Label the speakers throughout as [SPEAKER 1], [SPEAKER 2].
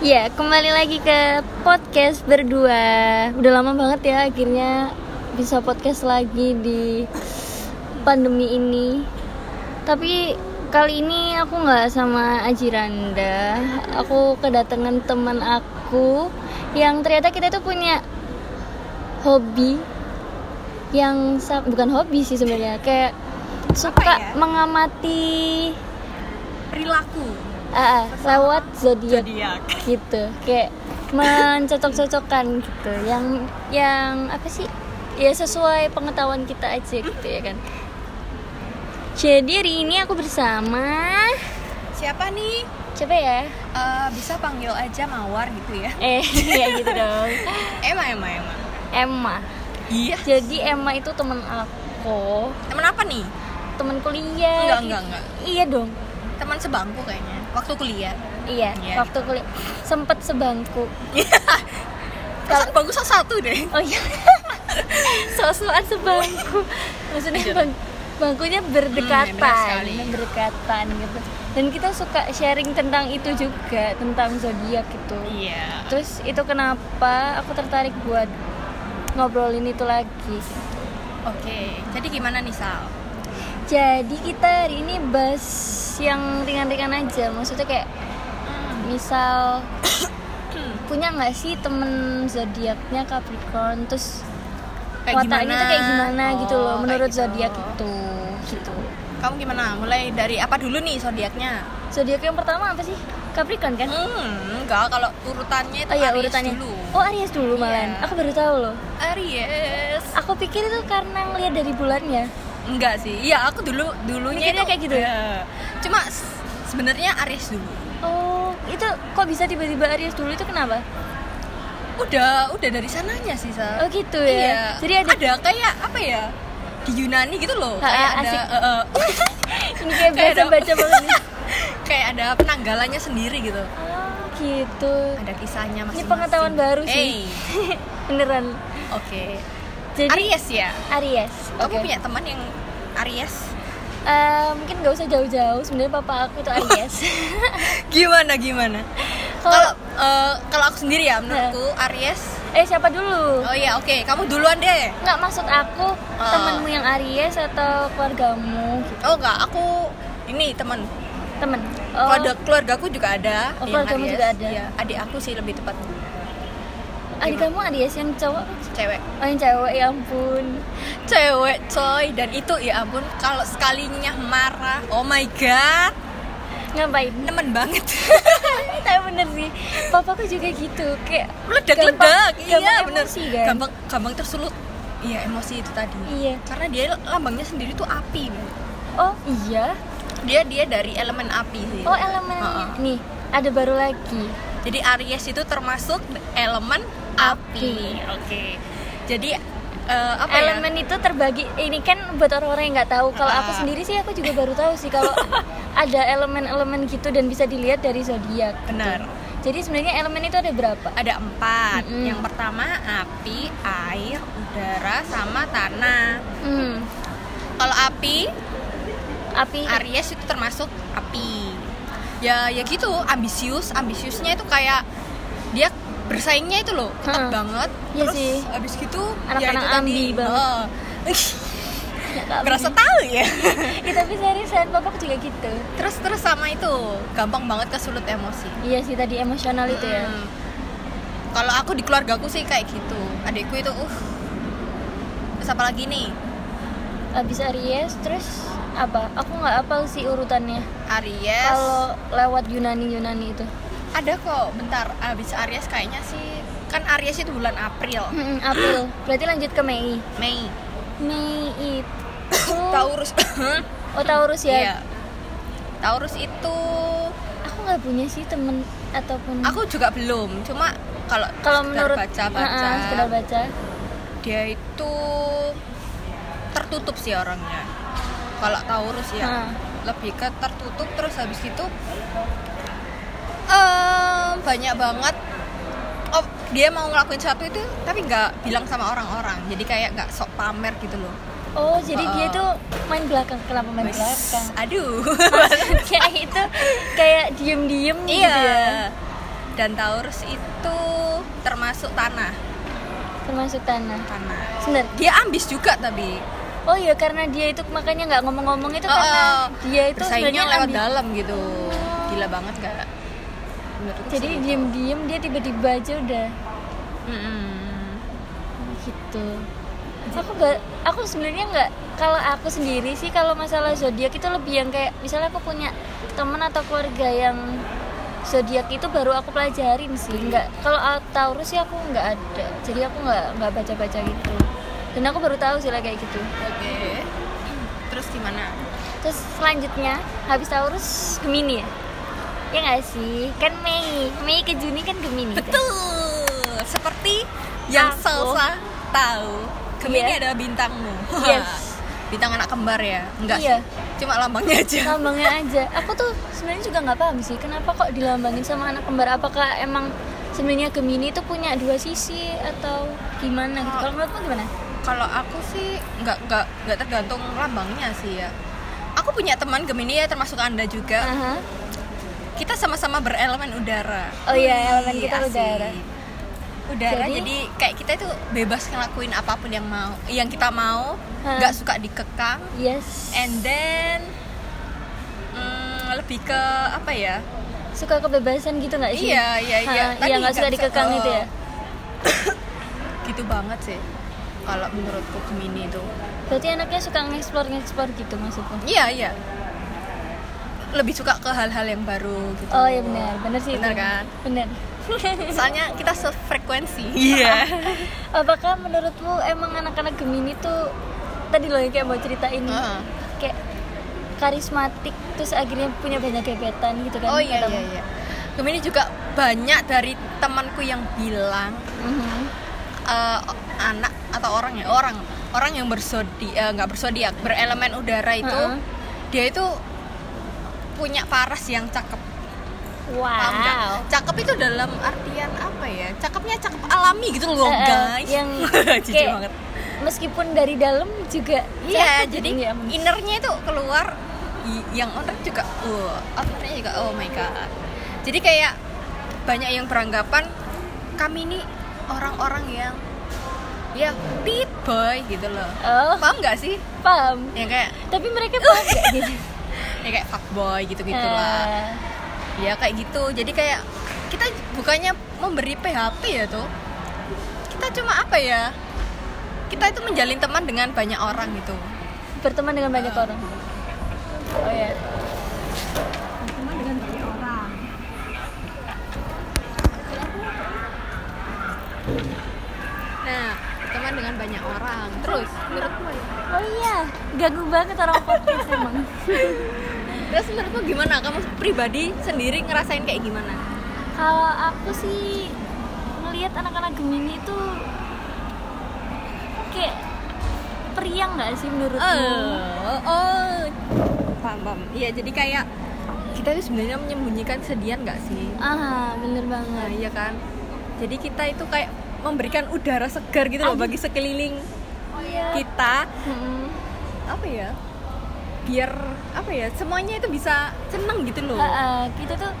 [SPEAKER 1] Iya, kembali lagi ke podcast berdua. Udah lama banget ya akhirnya bisa podcast lagi di pandemi ini. Tapi kali ini aku nggak sama Ajiranda. Aku kedatangan teman aku yang ternyata kita tuh punya hobi yang sa- bukan hobi sih sebenarnya kayak suka
[SPEAKER 2] ya?
[SPEAKER 1] mengamati
[SPEAKER 2] perilaku
[SPEAKER 1] ah, ah, lewat zodiak
[SPEAKER 2] zodiak
[SPEAKER 1] gitu kayak mencocok-cocokkan gitu yang yang apa sih ya sesuai pengetahuan kita aja gitu ya kan jadi hari ini aku bersama
[SPEAKER 2] siapa nih
[SPEAKER 1] coba ya
[SPEAKER 2] Eh, bisa panggil aja mawar gitu ya
[SPEAKER 1] eh ya gitu dong
[SPEAKER 2] Emma Emma Emma
[SPEAKER 1] Emma
[SPEAKER 2] iya
[SPEAKER 1] jadi Emma itu temen aku
[SPEAKER 2] teman apa nih
[SPEAKER 1] temen kuliah
[SPEAKER 2] enggak enggak enggak
[SPEAKER 1] iya dong
[SPEAKER 2] teman sebangku kayaknya waktu kuliah
[SPEAKER 1] iya
[SPEAKER 2] Iya.
[SPEAKER 1] waktu kuliah sempet sebangku
[SPEAKER 2] Kalau sebangku salah satu deh
[SPEAKER 1] Oh iya. Sosokan sebangku. Maksudnya
[SPEAKER 2] Lanjut.
[SPEAKER 1] bang- bangkunya berdekatan,
[SPEAKER 2] Hmm, benar sekali.
[SPEAKER 1] berdekatan gitu. Dan kita suka sharing tentang itu juga, tentang zodiak gitu.
[SPEAKER 2] iya
[SPEAKER 1] Terus itu kenapa aku tertarik buat ngobrolin itu lagi.
[SPEAKER 2] oke jadi gimana nih Sal
[SPEAKER 1] Jadi kita hari ini bahas yang ringan-ringan aja. Maksudnya kayak Hmm. misal punya nggak sih temen zodiaknya Capricorn terus wataknya tuh kayak gimana gitu
[SPEAKER 2] Oh,
[SPEAKER 1] loh
[SPEAKER 2] kayak
[SPEAKER 1] menurut
[SPEAKER 2] gitu.
[SPEAKER 1] zodiak itu gitu
[SPEAKER 2] kamu gimana mulai dari apa dulu nih zodiaknya
[SPEAKER 1] zodiak yang pertama apa sih Capricorn kan
[SPEAKER 2] hmm enggak kalau urutannya itu
[SPEAKER 1] oh iya
[SPEAKER 2] Aries
[SPEAKER 1] urutannya
[SPEAKER 2] dulu
[SPEAKER 1] oh Aries dulu malahan
[SPEAKER 2] Iya.
[SPEAKER 1] aku baru tahu loh
[SPEAKER 2] Aries
[SPEAKER 1] aku pikir itu karena ngeliat dari bulannya
[SPEAKER 2] Enggak sih. Iya, aku dulu dulunya
[SPEAKER 1] Mikirnya
[SPEAKER 2] itu
[SPEAKER 1] kayak gitu ya?
[SPEAKER 2] Iya. Cuma s- sebenarnya Aries dulu.
[SPEAKER 1] oh itu kok bisa tiba-tiba Aries dulu itu kenapa
[SPEAKER 2] Udah, udah dari sananya sih, Sa.
[SPEAKER 1] oh gitu ya
[SPEAKER 2] Iya.
[SPEAKER 1] jadi ada
[SPEAKER 2] kayak apa ya? Di Yunani gitu loh.
[SPEAKER 1] Ha,
[SPEAKER 2] kayak ada
[SPEAKER 1] asik.
[SPEAKER 2] eh, eh,
[SPEAKER 1] ini kayak
[SPEAKER 2] kayak
[SPEAKER 1] biasa
[SPEAKER 2] ada-
[SPEAKER 1] baca banget nih.
[SPEAKER 2] kayak ada penanggalannya sendiri gitu.
[SPEAKER 1] oh gitu
[SPEAKER 2] Ada kisahnya masing-masing.
[SPEAKER 1] pengetahuan baru sih.
[SPEAKER 2] Hey,
[SPEAKER 1] beneran
[SPEAKER 2] Oke.
[SPEAKER 1] jadi
[SPEAKER 2] Aries ya.
[SPEAKER 1] Aries
[SPEAKER 2] Kamu
[SPEAKER 1] oke
[SPEAKER 2] punya teman yang Aries?
[SPEAKER 1] Eh, mungkin gak usah jauh-jauh sebenarnya papa aku tuh Aries
[SPEAKER 2] Gimana gimana? Kalau
[SPEAKER 1] kalau Nah.
[SPEAKER 2] eh, kalau aku sendiri ya menurutku Aries.
[SPEAKER 1] eh siapa dulu
[SPEAKER 2] Oh iya, oke. Kamu duluan deh.
[SPEAKER 1] Nggak maksud aku
[SPEAKER 2] Oh.
[SPEAKER 1] temenmu yang Aries atau keluargamu gitu?
[SPEAKER 2] Oh enggak, aku ini teman.
[SPEAKER 1] temen
[SPEAKER 2] Oh. Keluarga keluargaku juga ada.
[SPEAKER 1] Oh,
[SPEAKER 2] yang
[SPEAKER 1] keluargamu
[SPEAKER 2] Aries.
[SPEAKER 1] juga ada.
[SPEAKER 2] Iya, adik aku sih lebih tepatnya
[SPEAKER 1] adik kamu Aries yang cowok
[SPEAKER 2] cewek.
[SPEAKER 1] oh yang cewek ya ampun
[SPEAKER 2] Cewek coy dan itu ya ampun kalau sekalinya marah, oh my god,
[SPEAKER 1] ngapain
[SPEAKER 2] nemen banget.
[SPEAKER 1] tapi bener sih papaku juga gitu kayak
[SPEAKER 2] Meledak-ledak.
[SPEAKER 1] gampang-
[SPEAKER 2] Iya,
[SPEAKER 1] gampang
[SPEAKER 2] bener.
[SPEAKER 1] emosi, kan?
[SPEAKER 2] Gampang gampang tersulut. Iya, emosi itu tadi.
[SPEAKER 1] iya
[SPEAKER 2] Karena dia lambangnya sendiri tuh api. Bu.
[SPEAKER 1] oh iya
[SPEAKER 2] Dia dia dari elemen api sih.
[SPEAKER 1] oh elemennya
[SPEAKER 2] Heeh.
[SPEAKER 1] nih ada baru lagi
[SPEAKER 2] Jadi Aries itu termasuk elemen api. Oke. Jadi eh, apa ya?
[SPEAKER 1] elemen itu terbagi ini kan buat orang-orang yang nggak tahu kalau aku
[SPEAKER 2] Ah.
[SPEAKER 1] sendiri sih aku juga baru tahu sih kalau ada elemen-elemen gitu dan bisa dilihat dari zodiak gitu.
[SPEAKER 2] Benar.
[SPEAKER 1] jadi sebenarnya elemen itu ada berapa
[SPEAKER 2] ada empat
[SPEAKER 1] Mm-mm.
[SPEAKER 2] yang pertama api air udara sama tanah
[SPEAKER 1] hmm,
[SPEAKER 2] kalau api
[SPEAKER 1] api
[SPEAKER 2] Aries itu termasuk api ya ya gitu ambisius ambisiusnya itu kayak dia bersaingnya itu loh
[SPEAKER 1] Heeh.
[SPEAKER 2] ketat banget
[SPEAKER 1] Iya
[SPEAKER 2] terus
[SPEAKER 1] sih.
[SPEAKER 2] abis gitu
[SPEAKER 1] Anak-anak
[SPEAKER 2] ya itu
[SPEAKER 1] ambi
[SPEAKER 2] tadi
[SPEAKER 1] banget.
[SPEAKER 2] heeh.
[SPEAKER 1] Ya, Kak,
[SPEAKER 2] berasa tahu ya
[SPEAKER 1] Ih, Iya, tapi seriusan bapak juga gitu
[SPEAKER 2] terus terus sama itu gampang banget kesulut emosi
[SPEAKER 1] iya sih tadi emosional itu ya
[SPEAKER 2] Mm. kalau aku di keluargaku sih kayak gitu adikku itu uh terus apa lagi nih
[SPEAKER 1] abis Aries terus apa aku nggak apal sih urutannya
[SPEAKER 2] Aries
[SPEAKER 1] kalau lewat Yunani Yunani itu
[SPEAKER 2] ada kok bentar abis Aries kayaknya sih kan Aries itu bulan April
[SPEAKER 1] Mm-mm, April berarti lanjut ke Mei
[SPEAKER 2] Mei
[SPEAKER 1] Mei itu
[SPEAKER 2] Taurus
[SPEAKER 1] oh Taurus ya
[SPEAKER 2] iya Taurus itu
[SPEAKER 1] aku nggak punya sih temen ataupun
[SPEAKER 2] aku juga belum cuma kalau
[SPEAKER 1] kalau
[SPEAKER 2] sekedar
[SPEAKER 1] menurut
[SPEAKER 2] baca baca
[SPEAKER 1] Ah, ah, sekedar baca
[SPEAKER 2] dia itu tertutup sih orangnya kalau Taurus
[SPEAKER 1] Ah.
[SPEAKER 2] ya lebih ke tertutup terus habis itu em, banyak banget oh, dia mau ngelakuin sesuatu itu tapi nggak bilang sama orang-orang jadi kayak nggak sok pamer gitu loh
[SPEAKER 1] oh jadi dia
[SPEAKER 2] Ah.
[SPEAKER 1] tuh main belakang kenapa main
[SPEAKER 2] Wes,
[SPEAKER 1] belakang
[SPEAKER 2] aduh
[SPEAKER 1] kayak itu kayak diem diem gitu
[SPEAKER 2] iya
[SPEAKER 1] ya
[SPEAKER 2] dan Taurus itu termasuk tanah
[SPEAKER 1] termasuk tanah
[SPEAKER 2] tanah
[SPEAKER 1] sebentar
[SPEAKER 2] dia ambis juga tapi
[SPEAKER 1] oh iya karena dia itu makanya nggak ngomong-ngomong itu
[SPEAKER 2] Oh,
[SPEAKER 1] karena
[SPEAKER 2] oh.
[SPEAKER 1] dia itu
[SPEAKER 2] bersaingnya
[SPEAKER 1] sebenarnya
[SPEAKER 2] lewat
[SPEAKER 1] ambil-
[SPEAKER 2] dalam gitu gila banget gak Menurutku
[SPEAKER 1] jadi
[SPEAKER 2] sih. gitu.
[SPEAKER 1] diem-diem dia tiba-tiba aja udah
[SPEAKER 2] Mm-mm.
[SPEAKER 1] gitu aku gak aku sebenarnya nggak kalau aku sendiri sih kalau masalah zodiak itu lebih yang kayak misalnya aku punya teman atau keluarga yang zodiak itu baru aku pelajarin sih nggak kalau Taurus sih aku nggak ada jadi aku nggak nggak baca baca gitu dan aku baru tahu sih lah kayak gitu
[SPEAKER 2] Oke. Terus gimana?
[SPEAKER 1] terus selanjutnya habis Taurus Gemini ya ya nggak sih kan Mei Mei ke Juni kan Gemini kan?
[SPEAKER 2] Betul. Seperti yang
[SPEAKER 1] Aku.
[SPEAKER 2] Salsa tahu. Gemini
[SPEAKER 1] Iya.
[SPEAKER 2] adalah bintangmu.
[SPEAKER 1] Yes.
[SPEAKER 2] Bintang anak kembar ya? Enggak
[SPEAKER 1] Iya.
[SPEAKER 2] sih. Cuma lambangnya aja.
[SPEAKER 1] lambangnya aja aku tuh sebenarnya juga nggak paham sih kenapa kok dilambangin sama anak kembar apakah emang sebenarnya Gemini itu punya dua sisi atau gimana gitu kalau menurutmu gimana
[SPEAKER 2] Kalau aku sih nggak nggak nggak tergantung lambangnya sih ya. Aku punya teman Gemini ya termasuk Anda juga.
[SPEAKER 1] Aha.
[SPEAKER 2] Kita sama-sama berelemen udara.
[SPEAKER 1] Oh iya,
[SPEAKER 2] Wih,
[SPEAKER 1] elemen kita
[SPEAKER 2] asik.
[SPEAKER 1] udara.
[SPEAKER 2] Udara
[SPEAKER 1] Jadi-
[SPEAKER 2] jadi, kayak kita itu bebas ngelakuin apapun yang mau, yang kita mau,
[SPEAKER 1] Hah.
[SPEAKER 2] nggak suka dikekang.
[SPEAKER 1] yes
[SPEAKER 2] and then mm, lebih ke apa ya
[SPEAKER 1] suka kebebasan gitu nggak sih
[SPEAKER 2] Iya, iya, iya.
[SPEAKER 1] Ha, iya
[SPEAKER 2] Tadi
[SPEAKER 1] nggak suka
[SPEAKER 2] nggak
[SPEAKER 1] dikekang
[SPEAKER 2] suka-
[SPEAKER 1] gitu ya
[SPEAKER 2] gitu banget sih kalau menurutku Gemini itu
[SPEAKER 1] berarti anaknya suka nge-explore nge-explore gitu maksudku
[SPEAKER 2] iya iya lebih suka ke hal-hal yang baru gitu
[SPEAKER 1] oh iya benar benar sih itu.
[SPEAKER 2] Benar kan?
[SPEAKER 1] benar
[SPEAKER 2] soalnya kita sefrekuensi iya
[SPEAKER 1] apakah menurutmu emang anak-anak Gemini tuh tadi loh yang kayak mau ceritain
[SPEAKER 2] Heeh.
[SPEAKER 1] kayak karismatik terus akhirnya punya banyak gebetan gitu kan
[SPEAKER 2] oh iya
[SPEAKER 1] katamu.
[SPEAKER 2] iya iya Gemini juga banyak dari temanku yang bilang
[SPEAKER 1] Mhm.
[SPEAKER 2] eh, anak atau orang ya orang orang yang bersodi eh, nggak bersodiak berelemen udara itu
[SPEAKER 1] Heeh.
[SPEAKER 2] dia itu punya paras yang cakep paham nggak?
[SPEAKER 1] wow
[SPEAKER 2] cakep itu dalam artian apa ya cakepnya cakep alami gitu loh
[SPEAKER 1] Eh, eh,
[SPEAKER 2] guys
[SPEAKER 1] yang
[SPEAKER 2] Jijik
[SPEAKER 1] kayak
[SPEAKER 2] banget
[SPEAKER 1] meskipun dari dalam juga
[SPEAKER 2] iya
[SPEAKER 1] cakep
[SPEAKER 2] jadi
[SPEAKER 1] gitu, ya, ampun.
[SPEAKER 2] innernya itu keluar i- yang orang juga oh outwardnya juga oh my god jadi kayak banyak yang beranggapan kami ini orang-orang yang ya pit boy gitu loh
[SPEAKER 1] oh
[SPEAKER 2] paham nggak sih
[SPEAKER 1] paham
[SPEAKER 2] yang kayak
[SPEAKER 1] tapi mereka paham nggak gitu
[SPEAKER 2] ya kayak fuckboy gitu gitulah
[SPEAKER 1] Eh,
[SPEAKER 2] ya kayak gitu jadi kayak kita bukannya memberi PHP ya tuh kita cuma apa ya kita itu menjalin teman dengan banyak orang gitu
[SPEAKER 1] berteman dengan banyak orang oh ya
[SPEAKER 2] nah teman dengan banyak orang terus menurutmu
[SPEAKER 1] oh iya ganggu banget orang podcast emang
[SPEAKER 2] terus menurutmu gimana kamu pribadi sendiri ngerasain kayak gimana
[SPEAKER 1] Kalau aku sih ngelihat anak-anak Gemini itu kayak periang nggak sih menurutmu?
[SPEAKER 2] oh oh paham paham iya jadi kayak kita itu sebenarnya menyembunyikan sedian nggak sih
[SPEAKER 1] Ah, bener
[SPEAKER 2] Nah,
[SPEAKER 1] banget.
[SPEAKER 2] iya kan. Jadi kita itu kayak memberikan udara segar gitu loh
[SPEAKER 1] Aduh.
[SPEAKER 2] bagi sekeliling Oh
[SPEAKER 1] Iya.
[SPEAKER 2] kita. Hmm.
[SPEAKER 1] Mm-mm.
[SPEAKER 2] Apa ya? Biar apa ya? Semuanya itu bisa seneng gitu loh.
[SPEAKER 1] Ah, ah, kita tuh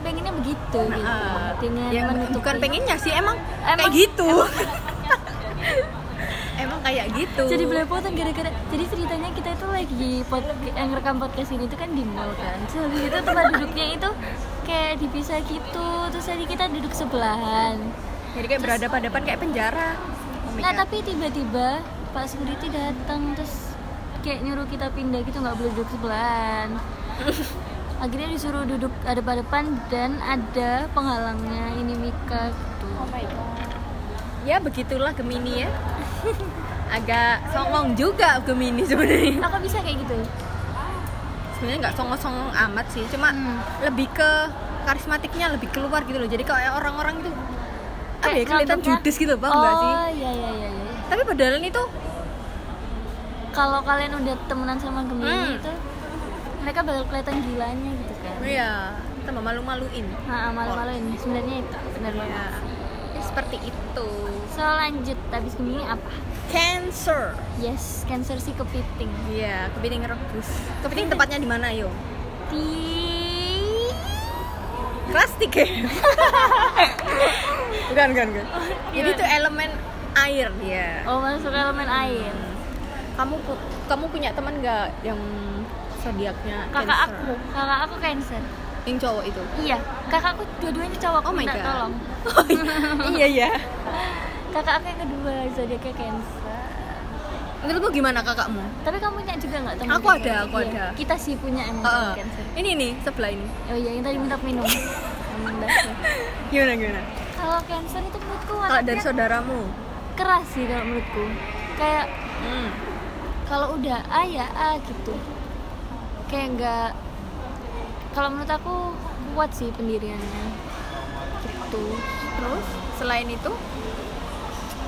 [SPEAKER 1] pengennya begitu
[SPEAKER 2] Nah,
[SPEAKER 1] gitu.
[SPEAKER 2] ah.
[SPEAKER 1] Dengan
[SPEAKER 2] ya,
[SPEAKER 1] menutupi-
[SPEAKER 2] bukan pengennya sih emang,
[SPEAKER 1] Emang-
[SPEAKER 2] kayak gitu. emang kayak gitu.
[SPEAKER 1] Jadi belepotan gara-gara jadi ceritanya kita itu lagi pod, yang rekam podcast ini tuh kan di mall kan. Terus habis itu tempat duduknya itu kayak dipisah gitu. Terus tadi kita duduk sebelahan.
[SPEAKER 2] Jadi kayak berhadapan-hadapan kayak penjara. Oh my
[SPEAKER 1] Nah
[SPEAKER 2] God.
[SPEAKER 1] tapi tiba-tiba Pak Security datang terus kayak nyuruh kita pindah gitu nggak boleh duduk sebelahan. Akhirnya disuruh duduk ada pada depan dan ada penghalangnya ini Mika gitu.
[SPEAKER 2] Oh ya begitulah Gemini ya. Agak songong juga Gemini sebenarnya.
[SPEAKER 1] Aku bisa kayak gitu.
[SPEAKER 2] sebenarnya nggak songong-songong amat sih cuma
[SPEAKER 1] Hmm.
[SPEAKER 2] lebih ke karismatiknya lebih keluar gitu loh jadi kayak orang-orang itu apa ya
[SPEAKER 1] Kayak
[SPEAKER 2] kelihatan
[SPEAKER 1] rambutnya-
[SPEAKER 2] judes gitu bang
[SPEAKER 1] oh,
[SPEAKER 2] nggak sih
[SPEAKER 1] iya iya iya. iya.
[SPEAKER 2] tapi padahal itu
[SPEAKER 1] Kalau kalian udah temenan sama Gemini
[SPEAKER 2] Hmm.
[SPEAKER 1] itu mereka bakal kelihatan gilanya gitu kan.
[SPEAKER 2] ya tambah malu-maluin
[SPEAKER 1] Nah, malu-maluin sebenarnya itu benar
[SPEAKER 2] ya
[SPEAKER 1] banget.
[SPEAKER 2] ya seperti itu
[SPEAKER 1] So lanjut habis Gemini apa?
[SPEAKER 2] cancer
[SPEAKER 1] Yes, Cancer si kepiting.
[SPEAKER 2] Iya, kepiting rebus. Kepiting tempatnya di mana, yo?
[SPEAKER 1] Di
[SPEAKER 2] kelas 3 bukan bukan bukan jadi itu elemen air dia
[SPEAKER 1] Oh masuk elemen air.
[SPEAKER 2] Iya. kamu pu- kamu punya teman nggak yang zodiaknya
[SPEAKER 1] Kakak
[SPEAKER 2] Cancer?
[SPEAKER 1] aku, kakak aku cancer.
[SPEAKER 2] yang cowok itu
[SPEAKER 1] Iya, kakakku dua-duanya cowok.
[SPEAKER 2] Oh
[SPEAKER 1] aku
[SPEAKER 2] my
[SPEAKER 1] minta
[SPEAKER 2] God.
[SPEAKER 1] Tolong.
[SPEAKER 2] iya ya
[SPEAKER 1] kakak aku yang kedua zodiaknya cancer.
[SPEAKER 2] menurutmu gimana kakakmu
[SPEAKER 1] Tapi kamu punya juga nggak teman?
[SPEAKER 2] Aku
[SPEAKER 1] kayak
[SPEAKER 2] ada,
[SPEAKER 1] gitu?
[SPEAKER 2] aku
[SPEAKER 1] Iya,
[SPEAKER 2] ada.
[SPEAKER 1] Kita sih punya yang
[SPEAKER 2] Heeh.
[SPEAKER 1] cancer.
[SPEAKER 2] ini nih sebelah ini
[SPEAKER 1] Oh iya, yang tadi minta minum. Minum dasar.
[SPEAKER 2] gimana gimana
[SPEAKER 1] kalau cancer itu menurutku
[SPEAKER 2] kalau dari
[SPEAKER 1] warnanya
[SPEAKER 2] saudaramu
[SPEAKER 1] keras sih kalau menurutku. Kayak
[SPEAKER 2] hmm.
[SPEAKER 1] kalau udah A ya A gitu. Kayak nggak kalau menurut aku kuat sih pendiriannya. Gitu.
[SPEAKER 2] terus selain itu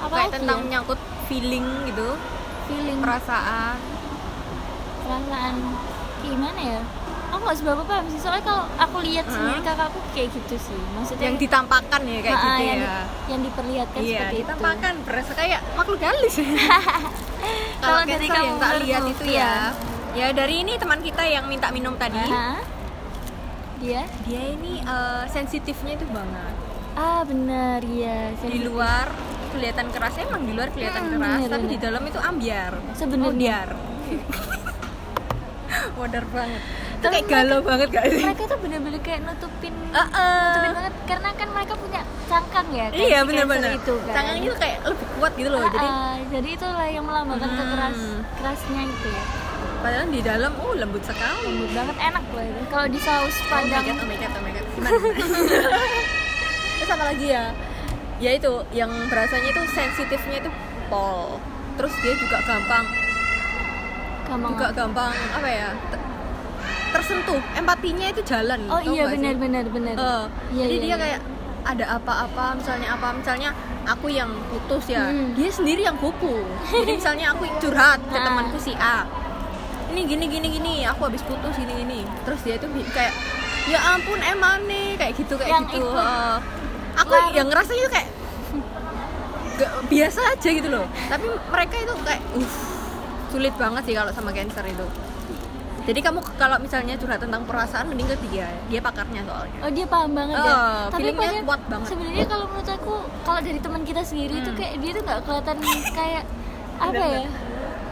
[SPEAKER 1] Apa
[SPEAKER 2] kayak
[SPEAKER 1] lagi
[SPEAKER 2] tentang
[SPEAKER 1] ya?
[SPEAKER 2] menyangkut feeling gitu
[SPEAKER 1] feeling
[SPEAKER 2] perasaan
[SPEAKER 1] perasaan gimana ya aku nggak seberapa paham sih soalnya kalau aku lihat
[SPEAKER 2] Hah?
[SPEAKER 1] sendiri kakakku kayak gitu sih maksudnya
[SPEAKER 2] yang ditampakkan ya kayak
[SPEAKER 1] Ah,
[SPEAKER 2] gitu
[SPEAKER 1] yang,
[SPEAKER 2] ya
[SPEAKER 1] yang diperlihatkan
[SPEAKER 2] iya
[SPEAKER 1] seperti itu
[SPEAKER 2] ditampakkan berasa kayak makhluk halus kalau
[SPEAKER 1] Kalau dari
[SPEAKER 2] cancer yang
[SPEAKER 1] kamu
[SPEAKER 2] tak
[SPEAKER 1] menurutmu,
[SPEAKER 2] lihat itu
[SPEAKER 1] iya.
[SPEAKER 2] ya ya dari ini teman kita yang minta minum tadi
[SPEAKER 1] Hah? dia
[SPEAKER 2] dia ini eh, sensitifnya itu banget
[SPEAKER 1] ah benar ya
[SPEAKER 2] di luar kelihatan keras emang di luar kelihatan
[SPEAKER 1] Hmm,
[SPEAKER 2] keras
[SPEAKER 1] bener,
[SPEAKER 2] tapi
[SPEAKER 1] bener.
[SPEAKER 2] di dalam itu ambiar
[SPEAKER 1] Sebenarnya.
[SPEAKER 2] Odiar. modar banget itu
[SPEAKER 1] Tapi
[SPEAKER 2] kayak galau banget gak sih
[SPEAKER 1] mereka tuh bener-bener kayak nutupin
[SPEAKER 2] Ah, Heeh.
[SPEAKER 1] nutupin banget karena kan mereka punya cangkang ya kan,
[SPEAKER 2] iya
[SPEAKER 1] si
[SPEAKER 2] bener-bener
[SPEAKER 1] cancer itu kan
[SPEAKER 2] tangannya tuh kayak lebih kuat gitu loh
[SPEAKER 1] Ah,
[SPEAKER 2] jadi
[SPEAKER 1] ah, jadi itulah yang melambangkan
[SPEAKER 2] Hmm.
[SPEAKER 1] kekeras kerasnya itu ya
[SPEAKER 2] padahal di dalam oh lembut sekali
[SPEAKER 1] lembut banget enak loh itu kalau di saus padang
[SPEAKER 2] Oh my god, oh my god, oh my god. Gimana? Terus apa lagi ya? Ya itu, yang berasanya itu sensitifnya itu pol. Terus dia juga gampang,
[SPEAKER 1] gampang
[SPEAKER 2] juga gampang apa ya? te- tersentuh, empatinya itu jalan.
[SPEAKER 1] Oh
[SPEAKER 2] tau
[SPEAKER 1] iya
[SPEAKER 2] nggak sih?
[SPEAKER 1] benar benar benar.
[SPEAKER 2] Eh,
[SPEAKER 1] Iya,
[SPEAKER 2] jadi
[SPEAKER 1] iya,
[SPEAKER 2] dia
[SPEAKER 1] iya.
[SPEAKER 2] kayak ada apa-apa, misalnya apa, misalnya aku yang putus ya,
[SPEAKER 1] Hmm.
[SPEAKER 2] dia sendiri yang kupu. Jadi misalnya aku curhat ke
[SPEAKER 1] Ah.
[SPEAKER 2] temanku si A, ini gini gini gini, aku habis putus gini gini. Terus dia itu bi- kayak, ya ampun emang nih kayak gitu kayak
[SPEAKER 1] Yang
[SPEAKER 2] gitu.
[SPEAKER 1] ikut
[SPEAKER 2] Eh, aku
[SPEAKER 1] lari.
[SPEAKER 2] yang ngerasanya tuh kayak gak- biasa aja gitu loh. Tapi mereka itu kayak, uff, sulit banget sih kalau sama cancer itu. Jadi kamu ke- kalau misalnya curhat tentang perasaan mending ke dia, dia pakarnya soalnya.
[SPEAKER 1] Oh dia paham banget ya.
[SPEAKER 2] Oh, feelingnya
[SPEAKER 1] padahal
[SPEAKER 2] kuat banget.
[SPEAKER 1] Sebenarnya kalau menurut aku kalau dari teman kita sendiri itu
[SPEAKER 2] Hmm.
[SPEAKER 1] kayak dia tuh nggak kelihatan kayak apa
[SPEAKER 2] Bener,
[SPEAKER 1] ya?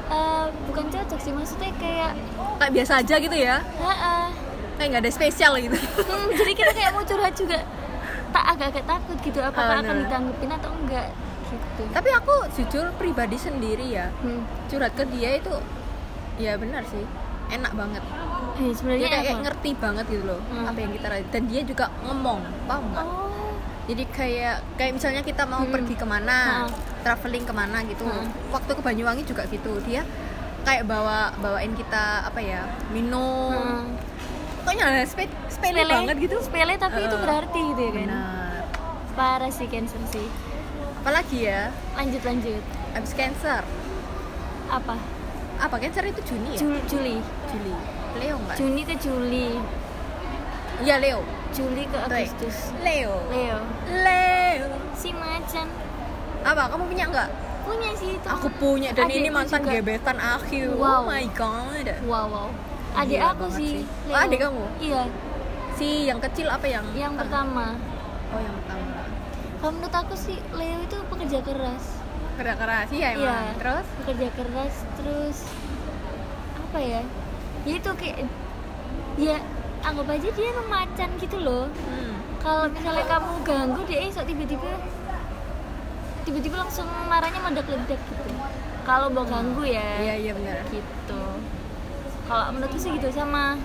[SPEAKER 1] Eh, bukan cocok sih maksudnya kayak
[SPEAKER 2] kayak biasa aja gitu ya
[SPEAKER 1] "Ah, ah."
[SPEAKER 2] kayak nggak ada spesial gitu
[SPEAKER 1] Hmm, jadi kita kayak mau curhat juga tak agak-agak takut gitu apakah akan
[SPEAKER 2] bener.
[SPEAKER 1] ditanggepin atau enggak gitu.
[SPEAKER 2] tapi aku jujur pribadi sendiri ya
[SPEAKER 1] Hmm.
[SPEAKER 2] curhat ke dia itu ya benar sih enak banget
[SPEAKER 1] Eh,
[SPEAKER 2] dia
[SPEAKER 1] sebenarnya
[SPEAKER 2] Iya, kayak, kayak
[SPEAKER 1] apa?
[SPEAKER 2] ngerti banget gitu loh
[SPEAKER 1] Hmm.
[SPEAKER 2] apa yang kita rasain dan dia juga ngomong paham nggak?
[SPEAKER 1] Oh,
[SPEAKER 2] jadi kayak kayak misalnya kita mau
[SPEAKER 1] Hmm.
[SPEAKER 2] pergi kemana
[SPEAKER 1] Hmm.
[SPEAKER 2] traveling kemana gitu
[SPEAKER 1] Hmm.
[SPEAKER 2] waktu ke Banyuwangi juga gitu dia kayak bawa bawain kita apa ya minum
[SPEAKER 1] hmm.
[SPEAKER 2] pokoknya spe sepele banget gitu
[SPEAKER 1] Sepele tapi itu
[SPEAKER 2] Eh,
[SPEAKER 1] berarti gitu ya kan.
[SPEAKER 2] benar
[SPEAKER 1] Parah sih cancer sih.
[SPEAKER 2] apalagi ya
[SPEAKER 1] Lanjut lanjut.
[SPEAKER 2] abis cancer
[SPEAKER 1] Apa?
[SPEAKER 2] apa cancer itu Juni ya?
[SPEAKER 1] Ju- Juli.
[SPEAKER 2] Juli Leo nggak?
[SPEAKER 1] Juni ke Juli.
[SPEAKER 2] Iya Leo
[SPEAKER 1] Juli ke
[SPEAKER 2] Baik.
[SPEAKER 1] Agustus.
[SPEAKER 2] Leo
[SPEAKER 1] Leo.
[SPEAKER 2] Leo
[SPEAKER 1] Si macan
[SPEAKER 2] apa kamu punya nggak?
[SPEAKER 1] punya sih itu.
[SPEAKER 2] aku punya dan
[SPEAKER 1] Adikku
[SPEAKER 2] ini mantan
[SPEAKER 1] juga.
[SPEAKER 2] gebetan aku
[SPEAKER 1] Wow.
[SPEAKER 2] oh my god
[SPEAKER 1] Wow wow. Adik
[SPEAKER 2] Gila
[SPEAKER 1] aku
[SPEAKER 2] banget
[SPEAKER 1] sih.
[SPEAKER 2] sih. Oh, adik kamu?
[SPEAKER 1] Iya,
[SPEAKER 2] si yang kecil apa yang
[SPEAKER 1] yang pertama.
[SPEAKER 2] oh yang pertama
[SPEAKER 1] Kalau menurut aku sih Leo itu pekerja keras.
[SPEAKER 2] kerja keras iya emang
[SPEAKER 1] Iya.
[SPEAKER 2] terus
[SPEAKER 1] Pekerja keras terus apa ya? Ya itu kayak ya anggap aja dia macan gitu loh.
[SPEAKER 2] hmm.
[SPEAKER 1] kalau misalnya kamu ganggu dia esok tiba-tiba tiba-tiba langsung marahnya meledak-ledak gitu kalau mau ganggu ya
[SPEAKER 2] iya iya benar
[SPEAKER 1] gitu kalau menurutku sih gitu sama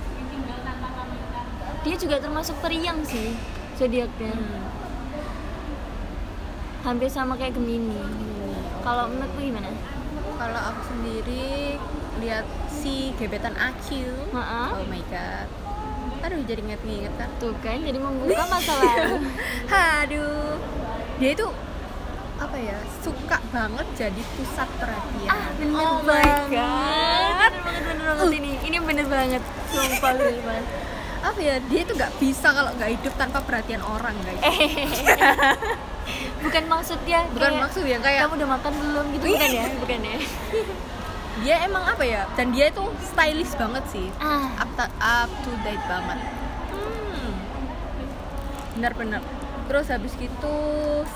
[SPEAKER 1] dia juga termasuk periang sih zodiaknya
[SPEAKER 2] Hmm.
[SPEAKER 1] hampir sama kayak gemini kalau menurutku gimana
[SPEAKER 2] kalau aku sendiri lihat si gebetan aku
[SPEAKER 1] Maaf.
[SPEAKER 2] oh my god aduh jadi inget-inget kan
[SPEAKER 1] tuh kan jadi membuka masa lalu
[SPEAKER 2] Aduh. Dia itu apa ya? Suka banget jadi pusat perhatian.
[SPEAKER 1] ah bener
[SPEAKER 2] Oh my
[SPEAKER 1] banget bener banget bener banget ini ini bener banget sumpah bener banget
[SPEAKER 2] Apa ya? Dia itu nggak bisa kalau nggak hidup tanpa perhatian orang, guys.
[SPEAKER 1] Eh. bukan maksudnya
[SPEAKER 2] Bukan
[SPEAKER 1] kayak-
[SPEAKER 2] maksud yang kayak
[SPEAKER 1] kamu udah makan belum gitu bukan ya bukan ya
[SPEAKER 2] dia emang apa ya? Dan dia itu stylish banget sih.
[SPEAKER 1] ah
[SPEAKER 2] Up, ta- up to date banget. Hmm. benar-benar terus habis gitu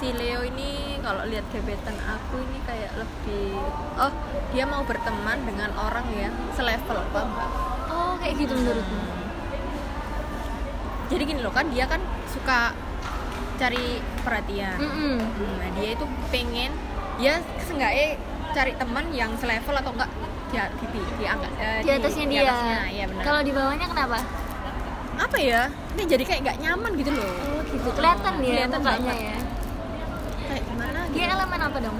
[SPEAKER 2] si Leo ini kalau lihat gebetan aku ini kayak lebih oh dia mau berteman dengan orang yang selevel apa mbak
[SPEAKER 1] oh kayak gitu menurutmu
[SPEAKER 2] jadi gini loh kan dia kan suka cari perhatian
[SPEAKER 1] Mm-mm.
[SPEAKER 2] nah dia itu pengen ya seenggaknya cari teman yang selevel atau enggak di di di, angka- eh,
[SPEAKER 1] di atasnya
[SPEAKER 2] di
[SPEAKER 1] dia
[SPEAKER 2] atasnya, iya benar.
[SPEAKER 1] kalau di bawahnya kenapa
[SPEAKER 2] apa ya ini jadi kayak nggak nyaman gitu loh
[SPEAKER 1] oh gitu kelihatan dia
[SPEAKER 2] Kelihatan
[SPEAKER 1] mukanya
[SPEAKER 2] banget.
[SPEAKER 1] ya Iya.
[SPEAKER 2] kayak gimana
[SPEAKER 1] dia
[SPEAKER 2] gitu.
[SPEAKER 1] elemen apa dong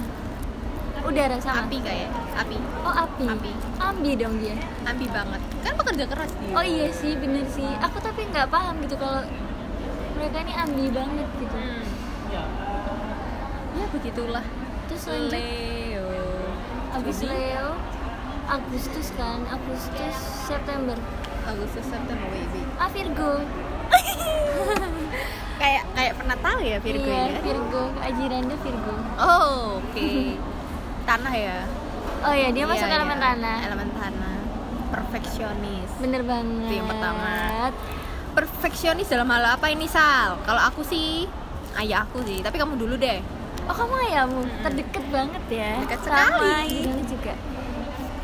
[SPEAKER 1] udara sama
[SPEAKER 2] api kayak api
[SPEAKER 1] oh api.
[SPEAKER 2] Api.
[SPEAKER 1] ambi dong dia
[SPEAKER 2] ambi banget kan pekerja keras dia
[SPEAKER 1] oh iya sih bener sih aku tapi nggak paham gitu kalau mereka ini ambi banget gitu
[SPEAKER 2] Hmm. ya begitulah
[SPEAKER 1] terus lanjut
[SPEAKER 2] Leo
[SPEAKER 1] Abis
[SPEAKER 2] Juli,
[SPEAKER 1] Leo Agustus kan, Agustus September.
[SPEAKER 2] Agustus September Wei.
[SPEAKER 1] Ah Virgo.
[SPEAKER 2] kayak kayak pernah tahu ya Virgo
[SPEAKER 1] iya,
[SPEAKER 2] ya
[SPEAKER 1] Virgo. Ajirannya Virgo.
[SPEAKER 2] oh oke tanah ya
[SPEAKER 1] Oh iya, dia
[SPEAKER 2] Iya,
[SPEAKER 1] masuk
[SPEAKER 2] iya.
[SPEAKER 1] elemen tanah.
[SPEAKER 2] elemen tanah perfeksionis
[SPEAKER 1] Bener banget.
[SPEAKER 2] Itu yang pertama. perfeksionis dalam hal apa ini Sal kalau aku sih ayah aku sih tapi kamu dulu deh
[SPEAKER 1] Oh kamu ayahmu terdekat banget ya.
[SPEAKER 2] Dekat
[SPEAKER 1] Sama,
[SPEAKER 2] sekali.
[SPEAKER 1] gimana juga.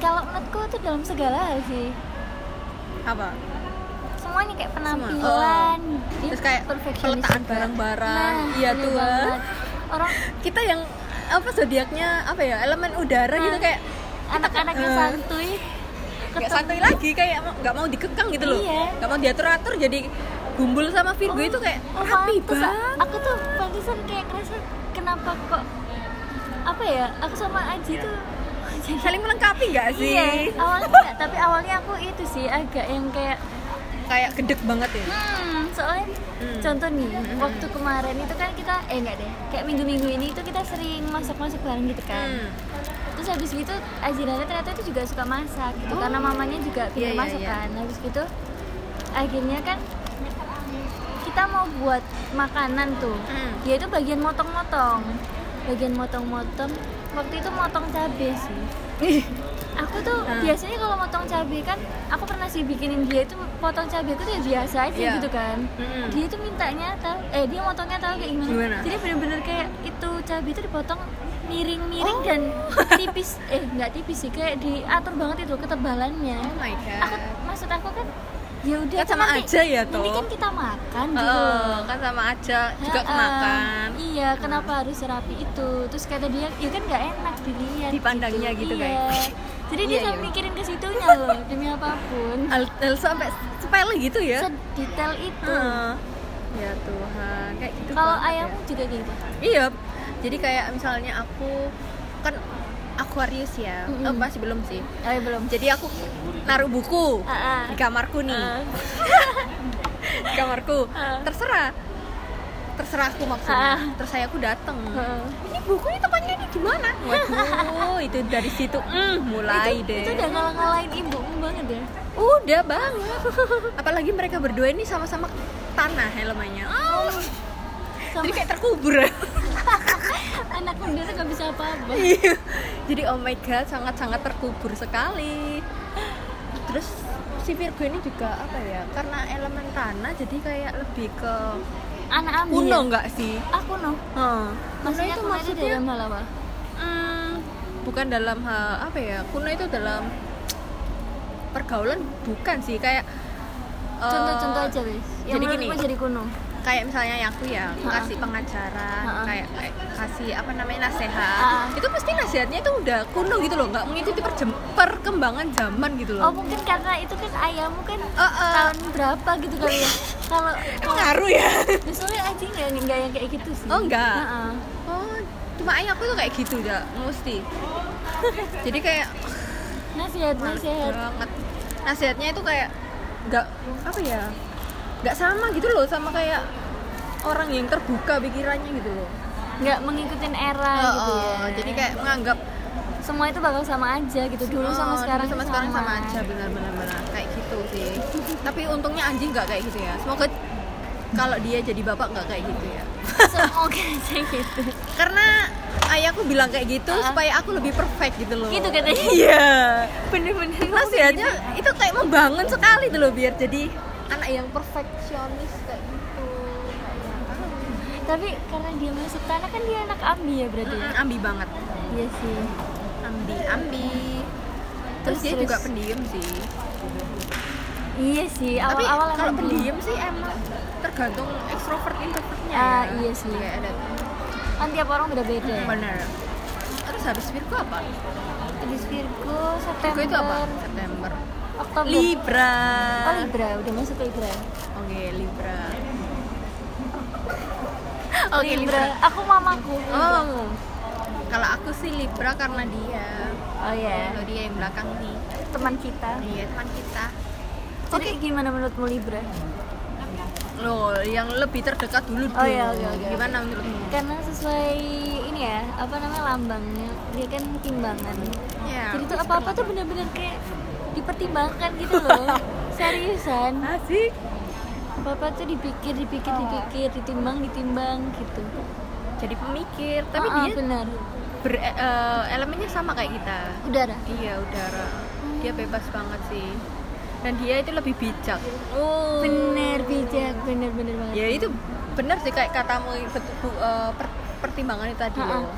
[SPEAKER 1] Kalau menurutku itu dalam segala hal sih.
[SPEAKER 2] apa
[SPEAKER 1] Semuanya kayak
[SPEAKER 2] Semua.
[SPEAKER 1] penampilan.
[SPEAKER 2] Oh.
[SPEAKER 1] Dia
[SPEAKER 2] Terus kayak
[SPEAKER 1] perfeksionis
[SPEAKER 2] peletaan
[SPEAKER 1] juga.
[SPEAKER 2] barang-barang.
[SPEAKER 1] Nah,
[SPEAKER 2] Iya
[SPEAKER 1] bener
[SPEAKER 2] tuh, ah.
[SPEAKER 1] banget. Orang
[SPEAKER 2] kita yang apa zodiaknya apa ya elemen udara
[SPEAKER 1] Nah.
[SPEAKER 2] gitu kayak
[SPEAKER 1] anak-anak yang
[SPEAKER 2] Eh.
[SPEAKER 1] santuy.
[SPEAKER 2] nggak
[SPEAKER 1] ketemu-
[SPEAKER 2] santai lagi kayak mau- nggak mau dikekang gitu loh
[SPEAKER 1] Iya.
[SPEAKER 2] nggak mau diatur atur jadi gumbul sama Virgo
[SPEAKER 1] Oh,
[SPEAKER 2] itu kayak
[SPEAKER 1] oh,
[SPEAKER 2] rapi
[SPEAKER 1] pantes.
[SPEAKER 2] banget
[SPEAKER 1] Aku tuh pantesan kayak ngerasa kenapa kok apa ya? Aku sama Aji tuh jadi
[SPEAKER 2] saling melengkapi nggak sih
[SPEAKER 1] iya. Awalnya enggak, tapi awalnya aku itu sih agak yang kayak
[SPEAKER 2] kayak gedek banget ya
[SPEAKER 1] hmm, soalnya
[SPEAKER 2] Hmm.
[SPEAKER 1] contoh nih waktu kemarin itu kan kita eh enggak deh kayak minggu-minggu ini itu kita sering masak-masak bareng gitu kan
[SPEAKER 2] Hmm.
[SPEAKER 1] terus habis gitu Azirana ternyata itu juga suka masak gitu
[SPEAKER 2] Oh.
[SPEAKER 1] karena mamanya juga
[SPEAKER 2] Iya,
[SPEAKER 1] pintar
[SPEAKER 2] iya,
[SPEAKER 1] masak
[SPEAKER 2] iya.
[SPEAKER 1] kan habis gitu akhirnya kan kita mau buat makanan tuh
[SPEAKER 2] Hmm.
[SPEAKER 1] dia itu bagian motong-motong bagian motong-motong waktu itu motong cabe sih aku tuh
[SPEAKER 2] Hmm.
[SPEAKER 1] biasanya kalau motong cabe kan aku pernah sih bikinin dia itu potong cabe itu ya biasa aja
[SPEAKER 2] Iya.
[SPEAKER 1] gitu kan
[SPEAKER 2] Hmm.
[SPEAKER 1] dia itu mintanya tahu eh dia motongnya tahu kayak gimana,
[SPEAKER 2] Gimana?
[SPEAKER 1] jadi bener-bener kayak itu cabai itu dipotong miring-miring
[SPEAKER 2] Oh.
[SPEAKER 1] dan tipis eh nggak tipis sih kayak diatur banget itu ketebalannya
[SPEAKER 2] oh my
[SPEAKER 1] aku
[SPEAKER 2] god
[SPEAKER 1] maksud aku kan ya udah
[SPEAKER 2] Kan sama aja ya,
[SPEAKER 1] ini
[SPEAKER 2] toh.
[SPEAKER 1] kan kita makan
[SPEAKER 2] Oh,
[SPEAKER 1] gitu
[SPEAKER 2] kan sama aja juga
[SPEAKER 1] Ha-ha.
[SPEAKER 2] kemakan
[SPEAKER 1] iya kenapa harus serapi itu terus kata dia ya kan nggak enak dilihat
[SPEAKER 2] Dipandangnya gitu,
[SPEAKER 1] Iya.
[SPEAKER 2] kayak.
[SPEAKER 1] jadi dia
[SPEAKER 2] Iya,
[SPEAKER 1] sampai
[SPEAKER 2] iya.
[SPEAKER 1] mikirin ke situnya loh demi apapun
[SPEAKER 2] Al, al- sampai sepele gitu ya
[SPEAKER 1] sedetail itu
[SPEAKER 2] Heeh. ya Tuhan kayak gitu
[SPEAKER 1] kalau
[SPEAKER 2] banget ya.
[SPEAKER 1] ayahmu juga gitu
[SPEAKER 2] Iya. Jadi kayak misalnya aku kan Aquarius ya.
[SPEAKER 1] Mm-mm.
[SPEAKER 2] Eh, masih belum sih.
[SPEAKER 1] oh ya belum
[SPEAKER 2] Jadi aku naruh buku
[SPEAKER 1] Ah, ah.
[SPEAKER 2] di kamarku nih.
[SPEAKER 1] Ah.
[SPEAKER 2] Di kamarku.
[SPEAKER 1] Ah.
[SPEAKER 2] Terserah. Terserah aku maksudnya.
[SPEAKER 1] Ah.
[SPEAKER 2] Terus saya aku datang.
[SPEAKER 1] Ah.
[SPEAKER 2] Ini bukunya tempatnya ini di mana? Waduh, itu dari situ mm, mulai
[SPEAKER 1] itu,
[SPEAKER 2] deh.
[SPEAKER 1] itu udah ngalah-ngalahin ibu banget ya
[SPEAKER 2] Udah banget. Apalagi mereka berdua ini sama-sama tanah elemennya. Oh,
[SPEAKER 1] sama
[SPEAKER 2] Jadi kayak terkubur.
[SPEAKER 1] anak muda tuh gak bisa apa-apa
[SPEAKER 2] Iya. Jadi oh my god sangat-sangat terkubur sekali. Terus si Virgo ini juga apa ya? Karena elemen tanah jadi kayak lebih ke
[SPEAKER 1] anak ambil
[SPEAKER 2] kuno nggak sih?
[SPEAKER 1] aku no
[SPEAKER 2] Iya. Heeh.
[SPEAKER 1] maksudnya itu
[SPEAKER 2] Nah, itu
[SPEAKER 1] maksudnya
[SPEAKER 2] maksudnya-
[SPEAKER 1] dalam hal apa
[SPEAKER 2] Hmm, bukan dalam hal apa ya? Kuno itu dalam pergaulan bukan sih kayak eh,
[SPEAKER 1] contoh-contoh aja wes yang
[SPEAKER 2] jadi
[SPEAKER 1] menurutmu
[SPEAKER 2] gini.
[SPEAKER 1] jadi kuno
[SPEAKER 2] kayak misalnya aku ya
[SPEAKER 1] Ha-ha.
[SPEAKER 2] kasih pengajaran
[SPEAKER 1] Ha-ha.
[SPEAKER 2] kayak, kayak kasih apa namanya nasehat
[SPEAKER 1] Ha-ha.
[SPEAKER 2] itu pasti nasihatnya itu udah kuno gitu loh nggak mengikuti perjem- perkembangan zaman gitu
[SPEAKER 1] oh
[SPEAKER 2] loh
[SPEAKER 1] mungkin karena itu kan ayahmu kan
[SPEAKER 2] Eh, eh.
[SPEAKER 1] tahun berapa gitu kali ya kalau kalau
[SPEAKER 2] ngaruh ya
[SPEAKER 1] ya, soalnya aja nggak nggak yang kayak gitu sih
[SPEAKER 2] Oh, nggak?
[SPEAKER 1] Heeh.
[SPEAKER 2] oh cuma ayah aku tuh kayak gitu ya mesti jadi kayak
[SPEAKER 1] nasihat
[SPEAKER 2] males
[SPEAKER 1] nasihat
[SPEAKER 2] banget nasihatnya itu kayak nggak apa ya nggak sama gitu loh sama kayak orang yang terbuka pikirannya gitu loh
[SPEAKER 1] nggak mengikuti era
[SPEAKER 2] Oh,
[SPEAKER 1] gitu ya
[SPEAKER 2] oh, jadi kayak menganggap
[SPEAKER 1] semua itu bakal sama aja gitu dulu
[SPEAKER 2] Oh,
[SPEAKER 1] sama
[SPEAKER 2] dulu
[SPEAKER 1] sekarang
[SPEAKER 2] sama
[SPEAKER 1] tuh
[SPEAKER 2] sekarang sama aja benar benar benar kayak gitu sih tapi untungnya anjing nggak kayak gitu ya semoga kalau dia jadi bapak nggak kayak gitu ya
[SPEAKER 1] semoga aja gitu
[SPEAKER 2] karena ayahku bilang kayak gitu
[SPEAKER 1] Ah.
[SPEAKER 2] supaya aku lebih perfect gitu loh
[SPEAKER 1] Gitu katanya.
[SPEAKER 2] iya
[SPEAKER 1] bener-bener
[SPEAKER 2] nasihatnya itu kayak
[SPEAKER 1] gitu.
[SPEAKER 2] membangun sekali tuh loh biar jadi anak yang perfeksionis kayak gitu kayak yang
[SPEAKER 1] tapi karena dia masuk tanah kan dia anak ambi ya berarti ya?
[SPEAKER 2] Mm-mm, ambi banget
[SPEAKER 1] iya sih
[SPEAKER 2] ambi ambi terus,
[SPEAKER 1] Terus-
[SPEAKER 2] dia
[SPEAKER 1] terus.
[SPEAKER 2] juga pendiam sih
[SPEAKER 1] iya sih awal
[SPEAKER 2] tapi kan
[SPEAKER 1] awal
[SPEAKER 2] kalau pendiam sih emang tergantung ekstrovert introvertnya
[SPEAKER 1] Ah,
[SPEAKER 2] ya.
[SPEAKER 1] iya sih.
[SPEAKER 2] Kayak ada
[SPEAKER 1] kan tiap orang beda beda ya
[SPEAKER 2] benar terus habis Virgo apa
[SPEAKER 1] Habis Virgo
[SPEAKER 2] Virgo
[SPEAKER 1] September
[SPEAKER 2] itu apa September
[SPEAKER 1] Oktober
[SPEAKER 2] Libra
[SPEAKER 1] oh Libra udah masuk Libra
[SPEAKER 2] oke Libra oke
[SPEAKER 1] Libra.
[SPEAKER 2] Libra
[SPEAKER 1] aku mamaku Libra.
[SPEAKER 2] Oh. kalau aku sih Libra karena dia
[SPEAKER 1] oh ya
[SPEAKER 2] kalau dia yang belakang nih
[SPEAKER 1] teman kita
[SPEAKER 2] iya teman kita
[SPEAKER 1] jadi gimana menurutmu Libra
[SPEAKER 2] loh yang lebih terdekat dulu
[SPEAKER 1] Oh, iya,
[SPEAKER 2] dong.
[SPEAKER 1] oke, oke.
[SPEAKER 2] gimana menurutmu
[SPEAKER 1] karena sesuai ini ya apa namanya lambangnya dia kan timbangan
[SPEAKER 2] ya
[SPEAKER 1] jadi tuh apa apa tuh bener-bener kayak dipertimbangkan gitu loh seriusan
[SPEAKER 2] asik
[SPEAKER 1] apa apa tuh dipikir dipikir dipikir ditimbang ditimbang gitu
[SPEAKER 2] jadi pemikir tapi
[SPEAKER 1] Ah, ah,
[SPEAKER 2] dia
[SPEAKER 1] benar
[SPEAKER 2] ber- eh, elemennya sama kayak kita
[SPEAKER 1] udara
[SPEAKER 2] iya udara dia bebas banget sih dan dia itu lebih bijak oh
[SPEAKER 1] bener bijak bener bener banget
[SPEAKER 2] ya itu benar sih kayak katamu betul- bu- eh, per- pertimbangan itu tadi
[SPEAKER 1] Ha-ha.
[SPEAKER 2] loh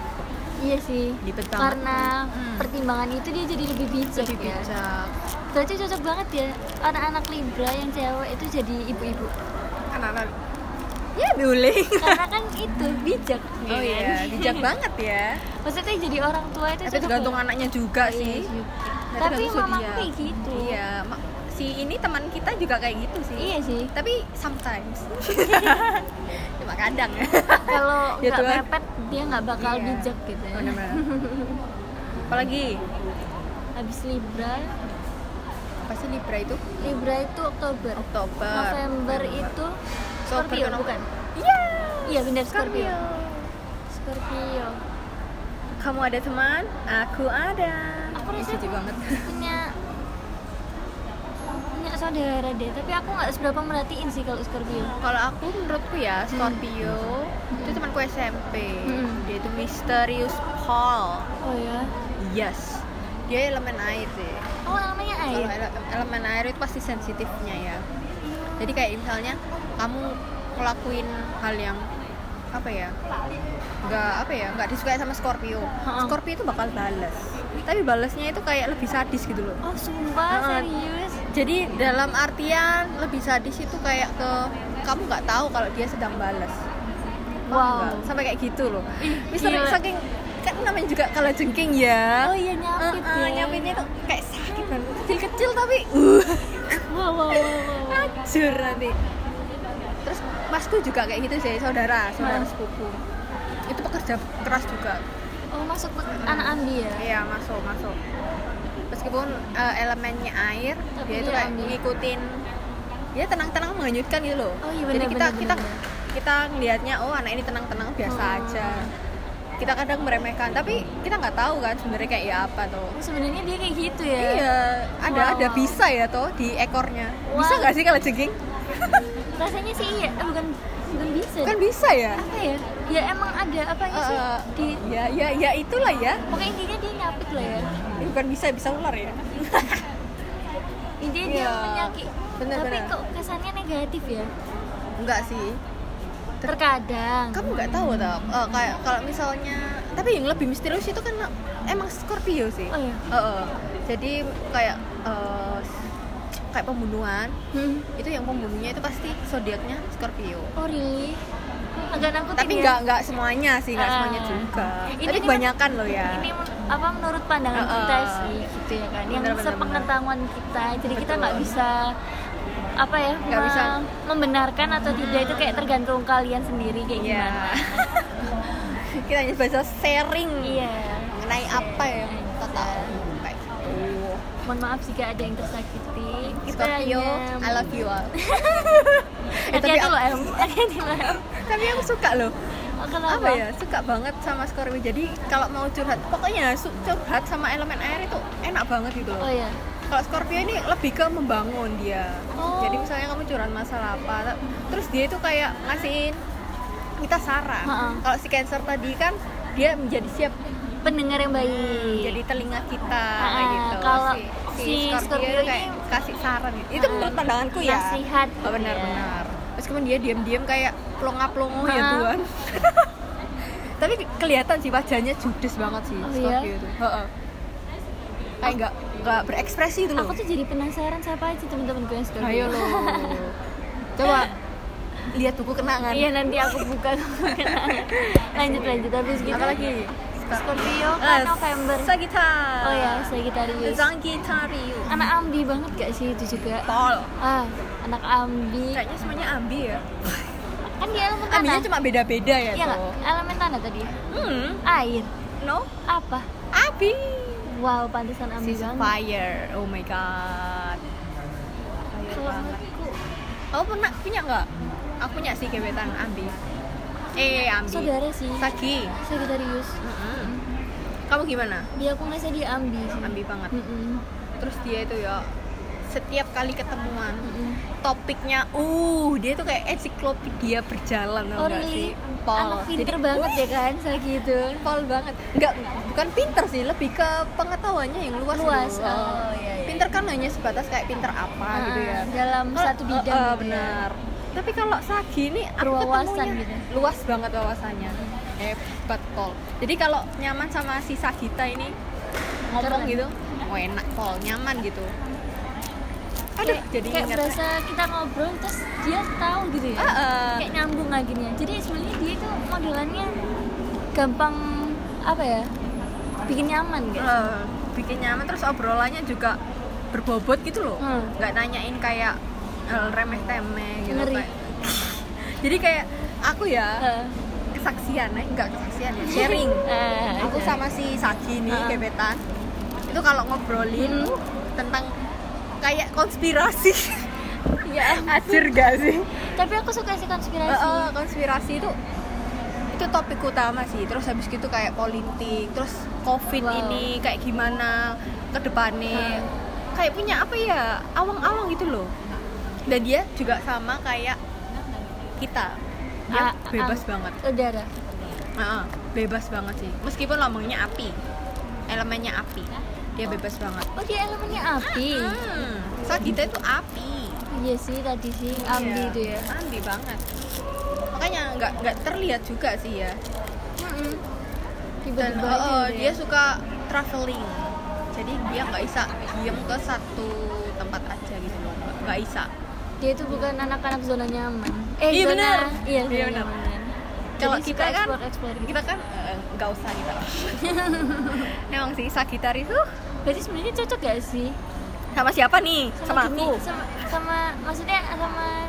[SPEAKER 1] iya sih
[SPEAKER 2] Libet banget.
[SPEAKER 1] karena
[SPEAKER 2] Hmm.
[SPEAKER 1] pertimbangan itu dia jadi lebih bijak
[SPEAKER 2] lebih
[SPEAKER 1] ya
[SPEAKER 2] bijak
[SPEAKER 1] berarti cocok banget ya anak-anak libra yang cewek itu jadi ibu-ibu
[SPEAKER 2] anak-anak ya boleh
[SPEAKER 1] karena kan itu bijak
[SPEAKER 2] oh
[SPEAKER 1] ya kan?
[SPEAKER 2] iya bijak banget ya
[SPEAKER 1] maksudnya jadi orang tua itu
[SPEAKER 2] tapi
[SPEAKER 1] cocok
[SPEAKER 2] tergantung
[SPEAKER 1] ya?
[SPEAKER 2] anaknya juga sih
[SPEAKER 1] Iya, juga.
[SPEAKER 2] Nanti
[SPEAKER 1] tapi
[SPEAKER 2] tergantung
[SPEAKER 1] mama
[SPEAKER 2] zodiak.
[SPEAKER 1] kayak gitu
[SPEAKER 2] iya ma- si ini teman kita juga kayak gitu sih
[SPEAKER 1] Iya sih
[SPEAKER 2] tapi sometimes cuma kadang ya
[SPEAKER 1] kalau
[SPEAKER 2] Ya
[SPEAKER 1] nggak
[SPEAKER 2] Tuhan.
[SPEAKER 1] mepet dia nggak bakal
[SPEAKER 2] Iya.
[SPEAKER 1] bijak gitu ya
[SPEAKER 2] Bener-bener. apalagi
[SPEAKER 1] habis libra
[SPEAKER 2] apa sih libra itu
[SPEAKER 1] libra itu oktober
[SPEAKER 2] oktober
[SPEAKER 1] november itu Scorpio
[SPEAKER 2] Oktober, November.
[SPEAKER 1] bukan
[SPEAKER 2] iya
[SPEAKER 1] iya benar
[SPEAKER 2] Scorpio
[SPEAKER 1] Scorpio Scorpio
[SPEAKER 2] kamu ada teman aku ada
[SPEAKER 1] aku
[SPEAKER 2] Ih,
[SPEAKER 1] rasa
[SPEAKER 2] jijik Iya, banget
[SPEAKER 1] punya punya saudara deh tapi aku nggak seberapa merhatiin sih kalau Scorpio
[SPEAKER 2] kalau aku menurutku ya Scorpio itu temanku SMP
[SPEAKER 1] Hmm.
[SPEAKER 2] dia itu misterius Paul
[SPEAKER 1] oh
[SPEAKER 2] iya?
[SPEAKER 1] ya
[SPEAKER 2] Yes. Dia elemen air sih.
[SPEAKER 1] oh namanya
[SPEAKER 2] Kalau
[SPEAKER 1] air
[SPEAKER 2] ele- elemen air itu pasti sensitifnya ya. Jadi kayak misalnya kamu ngelakuin hal yang apa ya? Enggak apa ya? Enggak disukai sama Scorpio.
[SPEAKER 1] Ha-ha.
[SPEAKER 2] Scorpio itu bakal balas. Tapi balasnya itu kayak lebih sadis gitu loh.
[SPEAKER 1] oh sumpah
[SPEAKER 2] Heeh.
[SPEAKER 1] serius
[SPEAKER 2] Jadi dalam artian lebih sadis itu kayak ke kamu nggak tahu kalau dia sedang balas.
[SPEAKER 1] wow
[SPEAKER 2] Nggak, sampai kayak gitu loh. Mister
[SPEAKER 1] gila.
[SPEAKER 2] saking kan namanya juga kalau jengking ya.
[SPEAKER 1] oh iya nyapit
[SPEAKER 2] Eh, eh,
[SPEAKER 1] ya
[SPEAKER 2] nyapitnya tuh kayak sakit banget kecil-kecil tapi uh
[SPEAKER 1] wow wow wow, wow.
[SPEAKER 2] hancur nanti terus masku juga kayak gitu sih saudara saudara
[SPEAKER 1] Mas.
[SPEAKER 2] sepupu itu pekerja keras juga
[SPEAKER 1] oh masuk ke anak ambi ya
[SPEAKER 2] iya masuk masuk meskipun eh, elemennya air
[SPEAKER 1] Tapi
[SPEAKER 2] dia itu
[SPEAKER 1] dia
[SPEAKER 2] kayak
[SPEAKER 1] ambil.
[SPEAKER 2] ngikutin dia tenang-tenang menganyutkan gitu loh
[SPEAKER 1] Oh iya, bener,
[SPEAKER 2] jadi kita
[SPEAKER 1] bener,
[SPEAKER 2] kita
[SPEAKER 1] bener.
[SPEAKER 2] kita ngelihatnya oh anak ini tenang-tenang biasa
[SPEAKER 1] Oh.
[SPEAKER 2] aja kita kadang meremehkan tapi kita nggak tahu kan sebenarnya kayak ya apa tuh
[SPEAKER 1] Oh, sebenarnya dia kayak gitu ya
[SPEAKER 2] Iya, ada
[SPEAKER 1] Wow.
[SPEAKER 2] ada bisa ya toh di ekornya. Bisa
[SPEAKER 1] Wow.
[SPEAKER 2] nggak sih kalau jengking?
[SPEAKER 1] rasanya sih iya Eh, bukan bukan bisa
[SPEAKER 2] Kan bisa ya.
[SPEAKER 1] apa ya ya emang ada apa sih
[SPEAKER 2] Eh,
[SPEAKER 1] di
[SPEAKER 2] ya ya ya itulah ya.
[SPEAKER 1] pokoknya intinya dia nyapit lah ya
[SPEAKER 2] Eh, Bukan bisa bisa ular ya.
[SPEAKER 1] intinya
[SPEAKER 2] Iya.
[SPEAKER 1] dia menyakit
[SPEAKER 2] Bener,
[SPEAKER 1] tapi
[SPEAKER 2] bener.
[SPEAKER 1] kok kesannya negatif ya
[SPEAKER 2] Enggak sih.
[SPEAKER 1] terkadang
[SPEAKER 2] Kamu nggak tahu tau. Eh, kayak kalau misalnya tapi yang lebih misterius itu kan emang Scorpio sih.
[SPEAKER 1] Oh, iya.
[SPEAKER 2] Eh, eh. Jadi kayak eh, kayak pembunuhan
[SPEAKER 1] Hmm.
[SPEAKER 2] itu yang pembunuhnya itu pasti zodiaknya Scorpio.
[SPEAKER 1] oh really agak nakutin
[SPEAKER 2] Tapi
[SPEAKER 1] ya.
[SPEAKER 2] nggak nggak semuanya sih, nggak
[SPEAKER 1] Ah.
[SPEAKER 2] semuanya juga.
[SPEAKER 1] Ini-
[SPEAKER 2] Tapi
[SPEAKER 1] ini-
[SPEAKER 2] kebanyakan loh ya.
[SPEAKER 1] ini men- apa menurut pandangan
[SPEAKER 2] Heeh.
[SPEAKER 1] kita sih gitu ya kan yang
[SPEAKER 2] Bener, bener,
[SPEAKER 1] sepengetahuan kita jadi kita
[SPEAKER 2] Betul.
[SPEAKER 1] nggak bisa apa ya
[SPEAKER 2] Nggak bisa.
[SPEAKER 1] membenarkan atau tidak itu kayak tergantung kalian sendiri kayak
[SPEAKER 2] Iya.
[SPEAKER 1] gimana
[SPEAKER 2] Kita hanya bisa sharing
[SPEAKER 1] iya
[SPEAKER 2] mengenai apa ya yang kita tahu. Baik.
[SPEAKER 1] mohon maaf jika ada yang tersakiti kita
[SPEAKER 2] Scorpio,
[SPEAKER 1] hanya-
[SPEAKER 2] I love you all. Eh, tapi,
[SPEAKER 1] hati-hati
[SPEAKER 2] aku,
[SPEAKER 1] loh em hati-hati loh em
[SPEAKER 2] tapi aku suka loh.
[SPEAKER 1] Oh, kenapa?
[SPEAKER 2] Apa ya? Suka banget sama Scorpio. Jadi kalau mau curhat, pokoknya su- curhat sama elemen air itu enak banget gitu loh.
[SPEAKER 1] oh ya
[SPEAKER 2] Kalau Scorpio ini lebih ke membangun dia.
[SPEAKER 1] Oh.
[SPEAKER 2] Jadi misalnya kamu curhat masalah apa, ta- terus dia itu kayak ngasihin kita saran.
[SPEAKER 1] Ha-ha.
[SPEAKER 2] Kalau si Cancer tadi kan dia menjadi siap
[SPEAKER 1] pendengar yang baik
[SPEAKER 2] Hmm, jadi telinga kita
[SPEAKER 1] Ah,
[SPEAKER 2] kayak gitu.
[SPEAKER 1] kalau
[SPEAKER 2] si,
[SPEAKER 1] si
[SPEAKER 2] si Scorpio,
[SPEAKER 1] Scorpio
[SPEAKER 2] kayak
[SPEAKER 1] ini-
[SPEAKER 2] kasih saran gitu. Itu
[SPEAKER 1] Ah,
[SPEAKER 2] menurut pandanganku ya.
[SPEAKER 1] nasihat
[SPEAKER 2] Oh, benar
[SPEAKER 1] gitu ya.
[SPEAKER 2] benar. meskipun dia diam-diam kayak plonga-plongo ya
[SPEAKER 1] Ah.
[SPEAKER 2] Tuhan tapi kelihatan sih wajahnya judes banget sih
[SPEAKER 1] Oh,
[SPEAKER 2] Scorpio
[SPEAKER 1] iya?
[SPEAKER 2] itu Heeh. kayak nggak nggak berekspresi itu loh
[SPEAKER 1] Aku tuh jadi penasaran siapa aja teman-teman gue yang Scorpio.
[SPEAKER 2] ayo lo coba lihat buku kenangan
[SPEAKER 1] Iya nanti aku buka lanjut lanjut habis gitu.
[SPEAKER 2] apa lagi
[SPEAKER 1] Scorpio
[SPEAKER 2] Eh,
[SPEAKER 1] kan November.
[SPEAKER 2] Sagittarius
[SPEAKER 1] Oh ya, Sagittarius.
[SPEAKER 2] Sagittarius
[SPEAKER 1] Anak ambi banget gak sih itu juga?
[SPEAKER 2] tol
[SPEAKER 1] Ah, anak ambi.
[SPEAKER 2] kayaknya semuanya ambi ya
[SPEAKER 1] Kan dia elemen tanah.
[SPEAKER 2] ambinya cuma beda-beda ya
[SPEAKER 1] Iya nggak?
[SPEAKER 2] toh.
[SPEAKER 1] Elemen tanah tadi.
[SPEAKER 2] hmm
[SPEAKER 1] Air.
[SPEAKER 2] no
[SPEAKER 1] Apa?
[SPEAKER 2] abi
[SPEAKER 1] Wow, pantesan ambi
[SPEAKER 2] She's
[SPEAKER 1] banget.
[SPEAKER 2] fire. Oh my god. Fire
[SPEAKER 1] Kalau
[SPEAKER 2] banget.
[SPEAKER 1] menurutku,
[SPEAKER 2] Kamu pernah punya nggak? Aku punya sih gebetan Ambi. Eh Ambi.
[SPEAKER 1] Saudara sih.
[SPEAKER 2] Sagi.
[SPEAKER 1] Sagittarius.
[SPEAKER 2] Mm-mm. Kamu gimana?
[SPEAKER 1] Ya aku ngerasa dia ambi sih.
[SPEAKER 2] Ambi banget.
[SPEAKER 1] Mm-mm.
[SPEAKER 2] Terus dia itu ya setiap kali ketemuan
[SPEAKER 1] Mm-mm.
[SPEAKER 2] topiknya uh dia tuh kayak ensiklopedia berjalan tau
[SPEAKER 1] Oh,
[SPEAKER 2] nggak
[SPEAKER 1] really?
[SPEAKER 2] sih Pol
[SPEAKER 1] Anak
[SPEAKER 2] Jadi,
[SPEAKER 1] pinter banget ya kan, Sagi itu.
[SPEAKER 2] pol banget nggak bukan pinter sih lebih ke pengetahuannya yang luas
[SPEAKER 1] Luas,
[SPEAKER 2] dulu.
[SPEAKER 1] oh, iya, iya.
[SPEAKER 2] pinter kan hanya sebatas kayak pinter apa gitu ya
[SPEAKER 1] Ah, Dalam
[SPEAKER 2] Kalau-
[SPEAKER 1] satu bidang.
[SPEAKER 2] eh, eh,
[SPEAKER 1] gitu ya.
[SPEAKER 2] benar tapi kalau Sagi ini aku
[SPEAKER 1] Berwawasan
[SPEAKER 2] ketemunya
[SPEAKER 1] gitu.
[SPEAKER 2] luas banget wawasannya hebat Pol jadi kalau nyaman sama si Sagita ini ngomong
[SPEAKER 1] Keren.
[SPEAKER 2] gitu oh enak Pol nyaman gitu aduh
[SPEAKER 1] Kayak-
[SPEAKER 2] jadi
[SPEAKER 1] kayak
[SPEAKER 2] ingat
[SPEAKER 1] berasa kita ngobrol terus dia tahu gitu ya.
[SPEAKER 2] Ah, ah.
[SPEAKER 1] Kayak nyambung akhirnya. Jadi sebenarnya dia itu modelannya gampang apa ya? Bikin nyaman gitu. guys.
[SPEAKER 2] Eh, bikin nyaman terus obrolannya juga berbobot gitu loh
[SPEAKER 1] Hmm.
[SPEAKER 2] nggak nanyain kayak eh, remeh temeh gitu
[SPEAKER 1] Ngeri.
[SPEAKER 2] kayak. jadi kayak aku ya
[SPEAKER 1] Eh,
[SPEAKER 2] kesaksian eh enggak kesaksian ya sharing
[SPEAKER 1] eh,
[SPEAKER 2] aku
[SPEAKER 1] eh.
[SPEAKER 2] sama si Sagi nih
[SPEAKER 1] Ah.
[SPEAKER 2] gebetan itu kalau ngobrolin
[SPEAKER 1] Hmm.
[SPEAKER 2] tentang kayak konspirasi
[SPEAKER 1] ya.
[SPEAKER 2] acir gak sih
[SPEAKER 1] Tapi aku suka sih konspirasi.
[SPEAKER 2] Heeh, konspirasi itu itu topik utama sih terus habis gitu kayak politik terus covid
[SPEAKER 1] Wow.
[SPEAKER 2] ini kayak gimana ke depannya
[SPEAKER 1] Ah.
[SPEAKER 2] kayak punya apa ya awang-awang gitu loh dan dia juga sama kayak kita dia
[SPEAKER 1] Ah,
[SPEAKER 2] bebas
[SPEAKER 1] ah,
[SPEAKER 2] banget
[SPEAKER 1] Udara.
[SPEAKER 2] Heeh, bebas banget sih meskipun lambangnya api elemennya api dia bebas banget
[SPEAKER 1] Oh dia elemennya api.
[SPEAKER 2] hmm, Sagita itu api
[SPEAKER 1] Iya sih tadi sih ambi
[SPEAKER 2] ah. Iya,
[SPEAKER 1] itu ya.
[SPEAKER 2] ambi banget makanya nggak nggak terlihat juga sih ya
[SPEAKER 1] Mm-mm.
[SPEAKER 2] dan
[SPEAKER 1] Tiba-tiba aja
[SPEAKER 2] oh, oh,
[SPEAKER 1] gitu
[SPEAKER 2] dia
[SPEAKER 1] ya.
[SPEAKER 2] suka traveling jadi dia nggak bisa diem ke satu tempat aja gitu loh nggak- nggak bisa
[SPEAKER 1] dia itu bukan anak-anak zona nyaman eh
[SPEAKER 2] Iya,
[SPEAKER 1] zona
[SPEAKER 2] benar.
[SPEAKER 1] iya
[SPEAKER 2] Iya,
[SPEAKER 1] zona
[SPEAKER 2] benar.
[SPEAKER 1] nyaman
[SPEAKER 2] Kalau kita kan-
[SPEAKER 1] eksplor eksplor gitu
[SPEAKER 2] kita kan eh, nggak usah kita memang sih Sagitarius tuh
[SPEAKER 1] berarti sebenarnya cocok gak sih
[SPEAKER 2] sama siapa nih sama,
[SPEAKER 1] gini-
[SPEAKER 2] aku
[SPEAKER 1] sama, sama maksudnya sama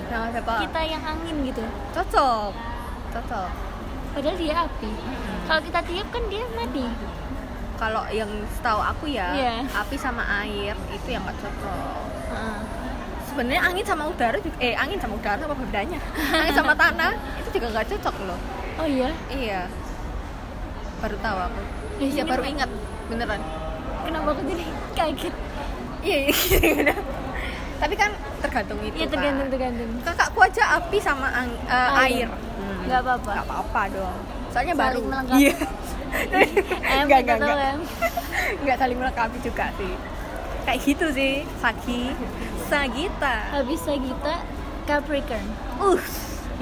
[SPEAKER 2] sama siapa
[SPEAKER 1] kita yang angin gitu
[SPEAKER 2] cocok cocok
[SPEAKER 1] padahal dia api kalau kita tiup kan dia mati
[SPEAKER 2] kalau yang setahu aku ya
[SPEAKER 1] Iya.
[SPEAKER 2] api sama air itu yang nggak cocok
[SPEAKER 1] Heeh.
[SPEAKER 2] sebenarnya angin sama udara juga, eh angin sama udara apa bedanya angin sama tanah itu juga nggak cocok loh
[SPEAKER 1] oh iya
[SPEAKER 2] Iya. Baru tahu aku.
[SPEAKER 1] Ya,
[SPEAKER 2] Iya,
[SPEAKER 1] ini
[SPEAKER 2] baru
[SPEAKER 1] mah-
[SPEAKER 2] ingat. Beneran.
[SPEAKER 1] kenapa aku jadi kaget
[SPEAKER 2] Iya, iya. Tapi kan tergantung itu.
[SPEAKER 1] iya
[SPEAKER 2] kan.
[SPEAKER 1] tergantung tergantung
[SPEAKER 2] Kakakku aja api sama ang- eh, air.
[SPEAKER 1] Air. Nggak apa-apa.
[SPEAKER 2] Nggak apa-apa dong. Soalnya baru.
[SPEAKER 1] Saling melengkapi.
[SPEAKER 2] Iya.
[SPEAKER 1] em kita
[SPEAKER 2] Nggak, nggak,
[SPEAKER 1] tahu
[SPEAKER 2] nggak.
[SPEAKER 1] em
[SPEAKER 2] Nggak saling melengkapi juga sih. Kayak gitu sih, Sagi. Sagita.
[SPEAKER 1] habis Sagita Capricorn
[SPEAKER 2] Uh,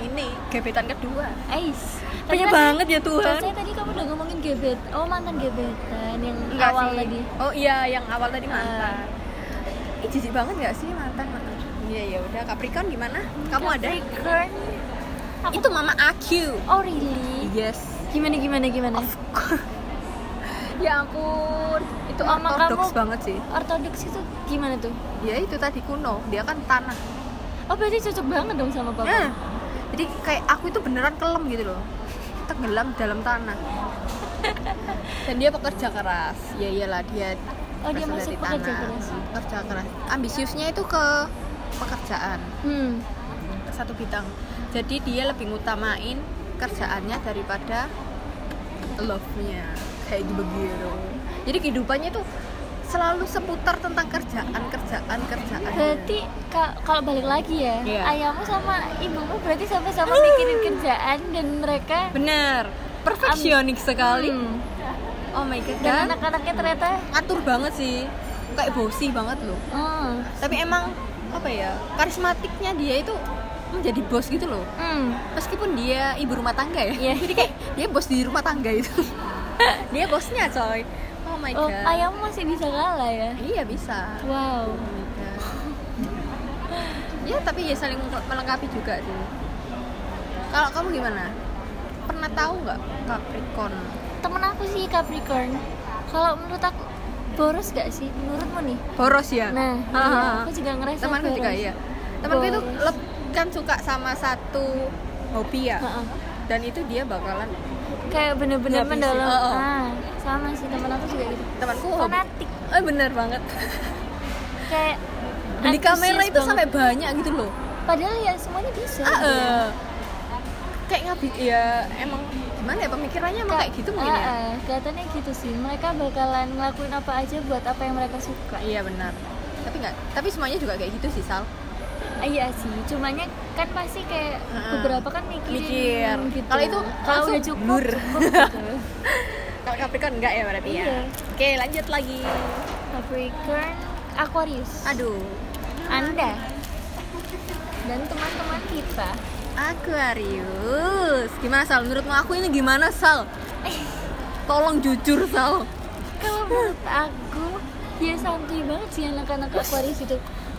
[SPEAKER 2] ini gebetan kedua.
[SPEAKER 1] Ais Tapi
[SPEAKER 2] Banyak
[SPEAKER 1] kan-
[SPEAKER 2] banget ya Tuhan.
[SPEAKER 1] Rasanya tadi kamu udah ngomongin gebet. Oh, mantan gebetan yang
[SPEAKER 2] Enggak
[SPEAKER 1] awal
[SPEAKER 2] sih.
[SPEAKER 1] tadi.
[SPEAKER 2] Oh iya, yang awal tadi mantan. Ih jijik banget nggak sih mantan mantan? Ah. Iya ya udah Capricorn gimana? Kamu ada?
[SPEAKER 1] Capricorn. Aku
[SPEAKER 2] Itu mama aku.
[SPEAKER 1] Oh, really?
[SPEAKER 2] Yes.
[SPEAKER 1] Gimana gimana gimana?
[SPEAKER 2] ya ampun, itu
[SPEAKER 1] Mama
[SPEAKER 2] ortodoks
[SPEAKER 1] kamu-
[SPEAKER 2] banget sih.
[SPEAKER 1] Ortodoks itu gimana tuh?
[SPEAKER 2] Ya itu tadi kuno, dia kan tanah.
[SPEAKER 1] Oh, berarti cocok banget dong sama
[SPEAKER 2] Nah,
[SPEAKER 1] papa.
[SPEAKER 2] jadi kayak aku itu beneran kelem gitu loh. Tenggelam dalam tanah. Dan dia pekerja keras. Ya iyalah dia
[SPEAKER 1] Oh, dia masuk
[SPEAKER 2] berasal dari
[SPEAKER 1] pekerja
[SPEAKER 2] tanah.
[SPEAKER 1] keras.
[SPEAKER 2] Pekerja keras. Ambisiusnya itu ke pekerjaan.
[SPEAKER 1] Hmm.
[SPEAKER 2] satu bidang jadi dia lebih ngutamain kerjaannya daripada love-nya kayak gitu begitu jadi kehidupannya tuh selalu seputar tentang kerjaan kerjaan kerjaan
[SPEAKER 1] Berarti ka- kalau balik lagi ya,
[SPEAKER 2] Iya.
[SPEAKER 1] ayahmu sama ibumu berarti sama-sama mikirin kerjaan dan mereka
[SPEAKER 2] bener perfeksionik sekali
[SPEAKER 1] Hmm.
[SPEAKER 2] oh my god
[SPEAKER 1] dan
[SPEAKER 2] dan
[SPEAKER 1] anak-anaknya ternyata
[SPEAKER 2] ngatur banget sih kayak bosi banget loh
[SPEAKER 1] hmm,
[SPEAKER 2] tapi emang apa ya karismatiknya dia itu menjadi bos gitu loh
[SPEAKER 1] Hmm.
[SPEAKER 2] meskipun dia ibu rumah tangga ya
[SPEAKER 1] Iya.
[SPEAKER 2] jadi kayak dia bos di rumah tangga itu dia bosnya coy oh my
[SPEAKER 1] Oh,
[SPEAKER 2] god
[SPEAKER 1] ayam masih bisa kalah ya.
[SPEAKER 2] iya bisa
[SPEAKER 1] Wow.
[SPEAKER 2] Oh my God. ya tapi ya saling melengkapi juga sih kalau kamu gimana pernah tahu nggak Capricorn
[SPEAKER 1] Temen aku sih Capricorn. Kalau menurut aku boros gak sih menurutmu nih?
[SPEAKER 2] boros ya
[SPEAKER 1] Nah,
[SPEAKER 2] Ah,
[SPEAKER 1] iya,
[SPEAKER 2] ah, ah.
[SPEAKER 1] aku juga ngerasa
[SPEAKER 2] temanku
[SPEAKER 1] boros.
[SPEAKER 2] juga iya temanku itu
[SPEAKER 1] Boros.
[SPEAKER 2] leb- kan suka sama satu hobi ya
[SPEAKER 1] Ha-ha.
[SPEAKER 2] dan itu dia bakalan
[SPEAKER 1] Kayak bener-bener
[SPEAKER 2] Nggak bisa.
[SPEAKER 1] mendalam.
[SPEAKER 2] Oh, oh.
[SPEAKER 1] Nah, sama sih temen aku juga gitu.
[SPEAKER 2] temanku hobi
[SPEAKER 1] Fanatik
[SPEAKER 2] eh bener banget
[SPEAKER 1] kayak
[SPEAKER 2] beli kamera
[SPEAKER 1] antusias
[SPEAKER 2] itu
[SPEAKER 1] banget.
[SPEAKER 2] sampai banyak gitu loh
[SPEAKER 1] padahal ya semuanya bisa.
[SPEAKER 2] ah,
[SPEAKER 1] gitu ya.
[SPEAKER 2] eh. kayak ngabik ya emang gimana ya pemikirannya emang kayak gitu mungkin ya
[SPEAKER 1] Ah, ah, kelihatannya gitu sih. Mereka bakalan ngelakuin apa aja buat apa yang mereka suka.
[SPEAKER 2] iya benar tapi nggak tapi semuanya juga kayak gitu sih sal
[SPEAKER 1] Ah, iya sih. Cumanya kan pasti kayak
[SPEAKER 2] Ah.
[SPEAKER 1] beberapa kan mikirin
[SPEAKER 2] Mikir.
[SPEAKER 1] gitu.
[SPEAKER 2] Kalau itu
[SPEAKER 1] kalau
[SPEAKER 2] langsung
[SPEAKER 1] udah cukup,
[SPEAKER 2] blur.
[SPEAKER 1] cukup gitu.
[SPEAKER 2] kalau Capricorn enggak ya berarti ya
[SPEAKER 1] Iya.
[SPEAKER 2] oke lanjut lagi
[SPEAKER 1] Capricorn, Aquarius.
[SPEAKER 2] aduh
[SPEAKER 1] Anda dan teman-teman kita.
[SPEAKER 2] Aquarius gimana sal menurutmu aku ini gimana sal tolong jujur sal
[SPEAKER 1] Kalau menurut aku ya santuy banget sih anak-anak Aquarius itu.